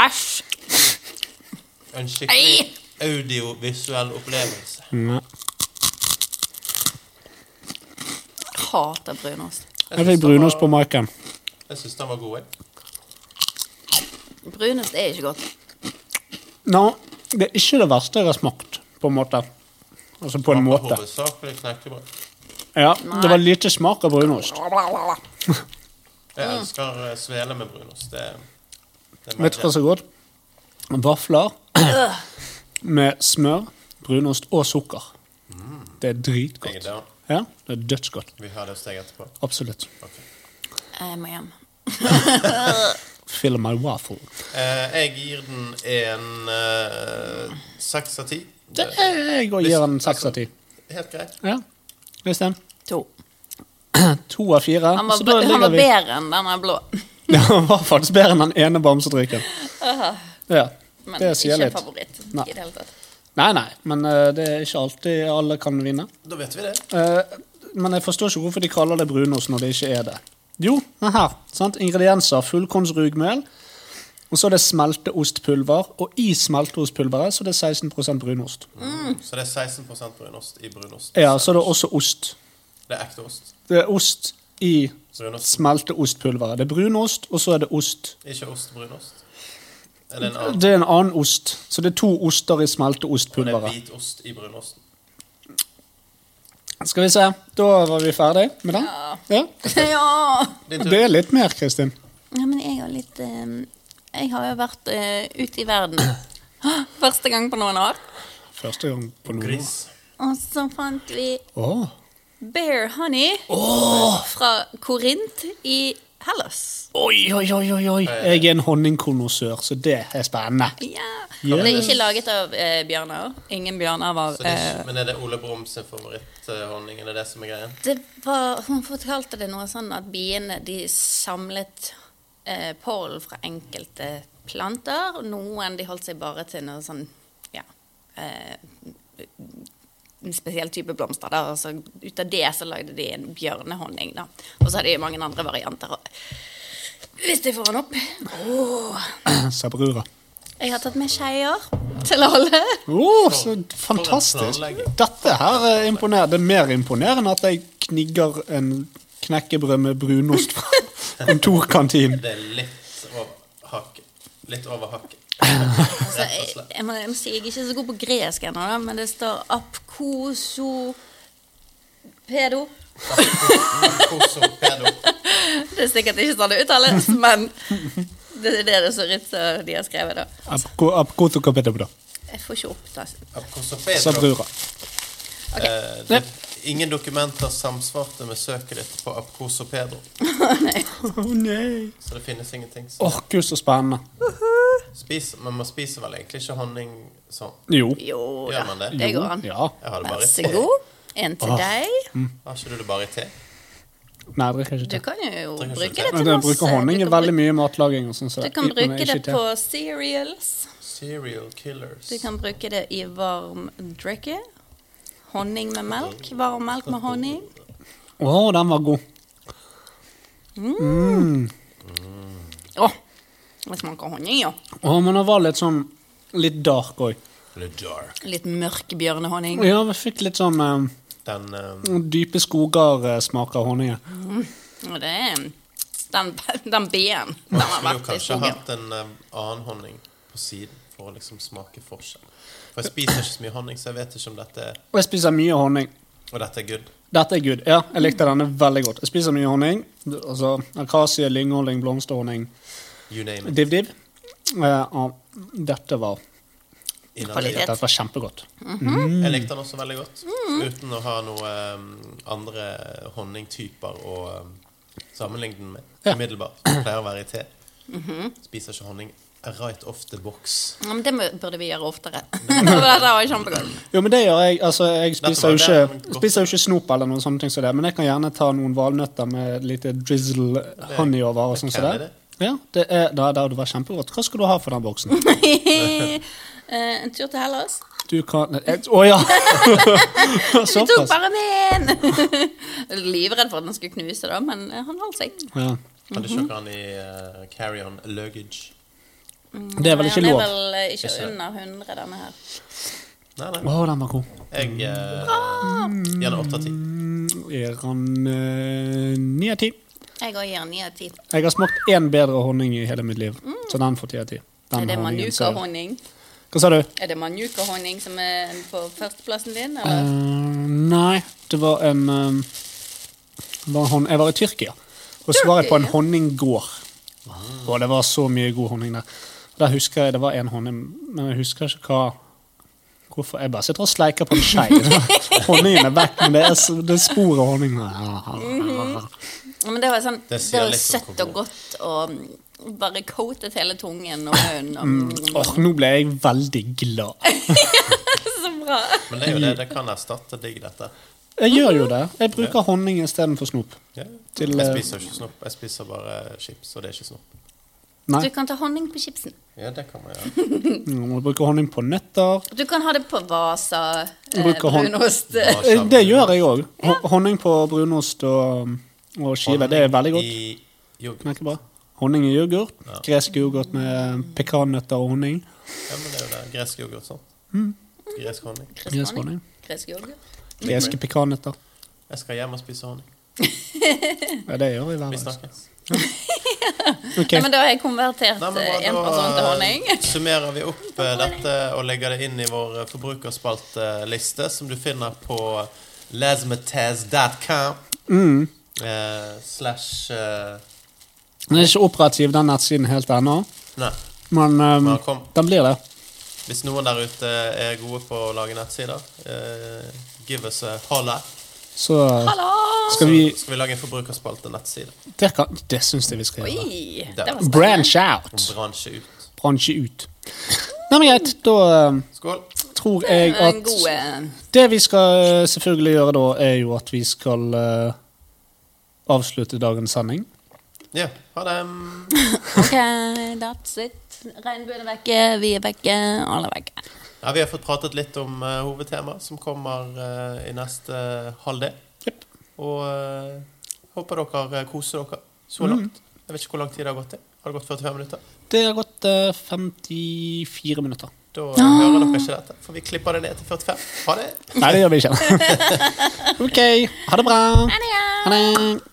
Speaker 2: Æsj.
Speaker 3: En skikkelig audiovisuell opplevelse.
Speaker 2: Hater brunost.
Speaker 1: Jeg fikk brunost på maken.
Speaker 3: Jeg syns den var god, jeg.
Speaker 2: Brunost er ikke godt.
Speaker 1: Nå, det er ikke det verste jeg har smakt, på en måte. Altså på en måte.
Speaker 3: Hovedsakelig knekkebrød.
Speaker 1: Ja, Det var lite smak av brunost. Mm.
Speaker 3: Jeg elsker eh, svele med brunost. Det, det er
Speaker 1: Vet du hva som er godt? Vafler med smør, brunost og sukker.
Speaker 3: Mm.
Speaker 1: Det er
Speaker 3: Jeg er
Speaker 1: dritgodt.
Speaker 3: down.
Speaker 1: Ja, det er dødsgodt.
Speaker 3: Vi har det hos deg etterpå.
Speaker 1: Absolutt.
Speaker 2: Jeg må hjem.
Speaker 1: Fill my waffle.
Speaker 3: Eh, jeg gir den en eh, seks av ti.
Speaker 1: Det er, jeg går og gir den seks av ti.
Speaker 3: Helt greit.
Speaker 1: Ja. Øystein?
Speaker 2: To.
Speaker 1: To av fire.
Speaker 2: Han
Speaker 1: Så
Speaker 2: var,
Speaker 1: da
Speaker 2: han
Speaker 1: ligger
Speaker 2: var
Speaker 1: vi
Speaker 2: bedre enn denne blå.
Speaker 1: Ja, Han var faktisk bedre enn den ene bamsedrikken. Ja,
Speaker 2: Men
Speaker 1: det
Speaker 2: ikke
Speaker 1: sier
Speaker 2: en
Speaker 1: litt.
Speaker 2: favoritt i
Speaker 1: Nei.
Speaker 2: det hele tatt.
Speaker 1: Nei, nei, men eh, det er ikke alltid alle kan vinne.
Speaker 3: Da vet vi det.
Speaker 1: Eh, men jeg forstår ikke hvorfor de kaller det brunost når det ikke er det. Jo, men her. sant? Ingredienser. Fullkornsrugmel. Og så er det smelteostpulver. Og i smelteostpulveret så er det 16 brunost.
Speaker 3: Så det er 16 brunost i brunost.
Speaker 1: Mm. Ja, så er det også ost.
Speaker 3: Det er ekte ost.
Speaker 1: Det er ost i
Speaker 3: Brunost.
Speaker 1: smelteostpulveret. Det er brunost, og så er det ost.
Speaker 3: Ikke ostbrunost. Er det en annen?
Speaker 1: Det er en annen ost. Så det er to oster i
Speaker 3: Og det er
Speaker 1: smelteostpulveret.
Speaker 3: hvit ost i brunosten.
Speaker 1: Skal vi se. Da var vi ferdig med den. Ja.
Speaker 2: Ja.
Speaker 3: Din tur.
Speaker 1: Det er litt mer, Kristin.
Speaker 2: Ja, men jeg har litt eh, Jeg har jo vært eh, ute i verden. Første gang på noen år.
Speaker 1: Første gang på noen
Speaker 3: Gris.
Speaker 2: Og så fant vi
Speaker 1: Åh.
Speaker 2: Bear Honey fra Korint i Hellas.
Speaker 1: Oi, oi, oi, oi, oi. Jeg er en honningkonnoissør, så det er spennende.
Speaker 2: Ja. Det er ikke laget av eh, bjørner. Ingen bjørner var
Speaker 3: Så det er
Speaker 2: eh,
Speaker 3: ikke, men er det Ole Brumm sin favoritthonning? Er det det som er greien?
Speaker 2: det var, Hun fortalte det noe sånn at biene de samlet eh, pollen fra enkelte planter. og Noen de holdt seg bare til noe sånn ja, eh, en spesiell type blomster. Da. Og så ut av det så lagde de en bjørnehonning. Da. Og så hadde de mange andre varianter. Og hvis jeg får den opp Åh.
Speaker 1: Sabrura.
Speaker 2: Jeg har tatt med skeier til alle.
Speaker 1: Åh, så fantastisk.
Speaker 3: planlegging.
Speaker 1: Dette her er imponerende. Det er mer imponerende at jeg knigger en knekkebrød med brunost fra, Kontorkantin.
Speaker 3: Det er litt over hakket. Litt over hakket.
Speaker 2: Så Altså, jeg, jeg, må, jeg må si jeg er ikke så god på gresk ennå, da, men det står apkoso pedo.
Speaker 3: Koso, pedo.
Speaker 2: Det er sikkert ikke sånn det uttales, men det er det det ser ut som de har skrevet. da.
Speaker 1: Apko- apkotokapetobro.
Speaker 2: Jeg får ikke opp det.
Speaker 3: Koso, pedo.
Speaker 1: Sabrura.
Speaker 3: Eh, det, ingen dokumenter samsvarte med søket ditt på Apkoso Pedro,
Speaker 1: Å nei.
Speaker 3: så det finnes ingenting. Så
Speaker 1: Åh, gud, så spennende.
Speaker 3: spis, men man spiser vel egentlig ikke honning sånn?
Speaker 1: Jo.
Speaker 2: Jo da,
Speaker 3: Gjør man det?
Speaker 2: det går an.
Speaker 1: Ja.
Speaker 3: Jeg har det
Speaker 2: Vær
Speaker 3: bare i
Speaker 2: så
Speaker 3: te.
Speaker 2: god. En til deg.
Speaker 3: Har ikke du det bare i te?
Speaker 1: Nei, jeg drikker ikke
Speaker 2: Du
Speaker 1: te.
Speaker 2: kan jo
Speaker 3: Trenger ikke
Speaker 2: bruke
Speaker 3: te.
Speaker 2: det
Speaker 1: Men
Speaker 2: til
Speaker 1: jeg
Speaker 2: masse.
Speaker 1: bruker honning
Speaker 2: Du
Speaker 1: i
Speaker 2: kan
Speaker 1: veldig
Speaker 2: bruke-
Speaker 1: mye matlaging og sånn. så
Speaker 2: Du
Speaker 1: det-
Speaker 2: kan
Speaker 1: men
Speaker 2: bruke
Speaker 1: ikke
Speaker 2: det
Speaker 1: te.
Speaker 2: på cereals.
Speaker 3: Serial killers.
Speaker 2: Du kan bruke det i varm drikke. Honning med melk. Varm melk med honning.
Speaker 1: Å, den var god.
Speaker 2: Å, det smaker honning, jo.
Speaker 1: Å, men den var litt sånn Litt dark òg.
Speaker 3: Le dark.
Speaker 2: Litt mørk bjørnehonning.
Speaker 1: Ja, vi fikk litt sånn eh,
Speaker 3: Den
Speaker 2: Mm.
Speaker 3: eh,
Speaker 1: dype skoger-smak av honningen.
Speaker 2: Og det er den, den B-en. Den har
Speaker 3: skulle jo
Speaker 2: vært i
Speaker 3: kanskje
Speaker 2: skogen.
Speaker 3: hatt en eh, annen honning på siden for å liksom smake forskjell. For jeg spiser ikke så mye honning, så jeg vet ikke om dette er
Speaker 1: Og jeg spiser mye honning.
Speaker 3: Og dette er good.
Speaker 1: Dette er good. Ja, jeg likte denne veldig godt. Jeg spiser mye honning. Altså akasie, lynghonning, blomsterhonning,
Speaker 3: You name it.
Speaker 1: div-div. Eh, og dette var
Speaker 3: Innerlig.
Speaker 2: Kvalitet. Mm.
Speaker 1: Dette var kjempegodt.
Speaker 3: Jeg likte den også veldig godt. Uten å ha noe um, andre honningtyper å um, sammenligne den med.
Speaker 1: Ja.
Speaker 3: Umiddelbart. Det Pleier å være i te.
Speaker 2: Mhm.
Speaker 3: Spiser ikke honning right off the box.
Speaker 2: Ja, men det må- burde vi gjøre oftere. For dette var kjempegodt.
Speaker 1: Jo, men det gjør jeg. Altså, jeg spiser jo
Speaker 3: Dette var det, men
Speaker 1: ikke,
Speaker 3: godt.
Speaker 1: spiser jo ikke snop eller noen sånne ting som det, men jeg kan gjerne ta noen valnøtter med lite drizzle honey over og sånn som
Speaker 3: kan
Speaker 1: det. Ja, det er da, da det var kjempegodt. Hva skal du ha for den boksen?
Speaker 2: Eh, En tur til Hellas.
Speaker 1: Du kan Å ja!
Speaker 2: Vi tok
Speaker 1: Såpass.
Speaker 2: bare med en! Livredd for at den skulle knuse, da, men eh, han holdt seg.
Speaker 1: Ja.
Speaker 3: Hadde ikke dere den i eh, carry-on luggage?
Speaker 1: Det er vel ikke
Speaker 2: Nei,
Speaker 1: lov.
Speaker 2: Han er vel eh, ikke
Speaker 3: Ikke.
Speaker 2: under 100, denne her.
Speaker 3: Nei,
Speaker 1: Å,
Speaker 3: nei.
Speaker 1: den var god.
Speaker 3: Jeg eh, Gjerne åtte av ti.
Speaker 1: Mm, Er han eh, ni av ti?
Speaker 2: Jeg går og gir 9 av 10.
Speaker 1: Jeg har smakt én bedre honning i hele mitt liv, så den får ti av ti. Den
Speaker 2: Er Mm. det
Speaker 1: honningen, så-
Speaker 2: manuka-honning?
Speaker 1: Hva sa du?
Speaker 2: Er det manuka-honning som er på førsteplassen din,
Speaker 1: Eh,
Speaker 2: eller?
Speaker 1: nei, det var en eh, var en hon Jeg var i Tyrkia, og så var jeg på en
Speaker 2: Tyrkia?
Speaker 1: honninggård. Og det var så mye god honning der. Der husker jeg det var en honning, men jeg husker ikke hva Hvorfor? Jeg bare sitter og sleiker på en skei. Honningen er vekk, men det er, s- det er spor av honning.
Speaker 2: Ja, Men det var sånn
Speaker 3: Det
Speaker 2: Det,
Speaker 3: sier
Speaker 2: var
Speaker 3: litt om
Speaker 2: søtt
Speaker 3: hvor
Speaker 2: og godt og mm, bare coatet hele tungen
Speaker 3: Mm.
Speaker 2: og mm, munnen. Og,
Speaker 1: Åh, nå ble jeg veldig glad.
Speaker 2: Så bra!
Speaker 3: Men det er jo det. Det kan erstatte digg, dette.
Speaker 1: Jeg gjør jo det. Jeg bruker honning istedenfor snop.
Speaker 3: Ja.
Speaker 1: Til,
Speaker 3: jeg
Speaker 1: eh,
Speaker 3: spiser jo ikke snop. Jeg spiser bare chips, og det er ikke snop.
Speaker 1: Nei,
Speaker 2: Du kan ta honning på chipsen.
Speaker 3: Ja, det kan man gjøre.
Speaker 1: nå må du bruke honning på nøtter.
Speaker 2: Du kan ha det på Vasa, eh,
Speaker 1: Bruker hon-
Speaker 2: brunost
Speaker 3: Bare
Speaker 1: Eh, Det
Speaker 3: sammen.
Speaker 1: gjør jeg òg. Honning på brunost og, og skive, det er veldig godt.
Speaker 3: Honning i yoghurt.
Speaker 1: Merker bra. Honning i yoghurt. Gresk yoghurt med pekannøtter og honning.
Speaker 3: Ja, men det er jo det. Gresk yoghurt, sånn.
Speaker 1: Mm.
Speaker 3: Gresk honning.
Speaker 1: Gresk honning.
Speaker 2: Gresk yoghurt.
Speaker 1: Greske pekannøtter.
Speaker 3: Jeg skal hjem og spise honning.
Speaker 1: Ja, det gjør vi hver dag.
Speaker 3: Vi snakkes.
Speaker 1: Ok,
Speaker 2: Nei, men da har jeg konvertert
Speaker 3: Nei, men
Speaker 2: eh,
Speaker 3: bare
Speaker 2: en
Speaker 3: da,
Speaker 2: person til honning.
Speaker 3: eh, summerer vi opp eh, dette og legger det inn i vår eh, forbrukerspalteliste, som du finner på lasmataz.com. Eh, slash eh,
Speaker 1: Den er ikke operativ, den nettsiden, helt ennå,
Speaker 3: Nei.
Speaker 1: men ehm,
Speaker 3: Men kom.
Speaker 1: den blir det.
Speaker 3: Hvis noen der ute er gode på å lage nettsider, eh, give us a holla.
Speaker 1: Så
Speaker 2: Hallo!
Speaker 1: skal vi
Speaker 3: Så skal vi lage en forbrukerspaltenettside.
Speaker 1: Det, kan- det syns jeg vi skal gjøre.
Speaker 2: Oi, det var spennende.
Speaker 1: Branch out.
Speaker 3: Bransje ut.
Speaker 1: Bransje ut. Nei, men greit. Da ehm,
Speaker 3: Skål.
Speaker 1: tror jeg
Speaker 2: En
Speaker 1: at
Speaker 2: god eh,
Speaker 1: Det vi skal eh, selvfølgelig gjøre da, er jo at vi skal eh, avslutte dagens sending.
Speaker 3: Ja, ha det.
Speaker 2: OK, that's it. Regnbuen er vekke, vi er vekke, alle er vekke.
Speaker 3: Ja, vi har fått pratet litt om uh, hovedtemaet som kommer eh, i neste halvdel.
Speaker 1: Jep.
Speaker 3: Og eh, håper dere eh, koser dere så langt. Jeg vet ikke hvor lang tid det har gått til. Har det gått 45 minutter?
Speaker 1: Det har gått eh, 54 minutter.
Speaker 3: Da eh, hører dere ikke dette, for vi klipper det ned til 45. Ha det!
Speaker 1: Nei, det gjør vi ikke. ok. Ha det bra. Ha det.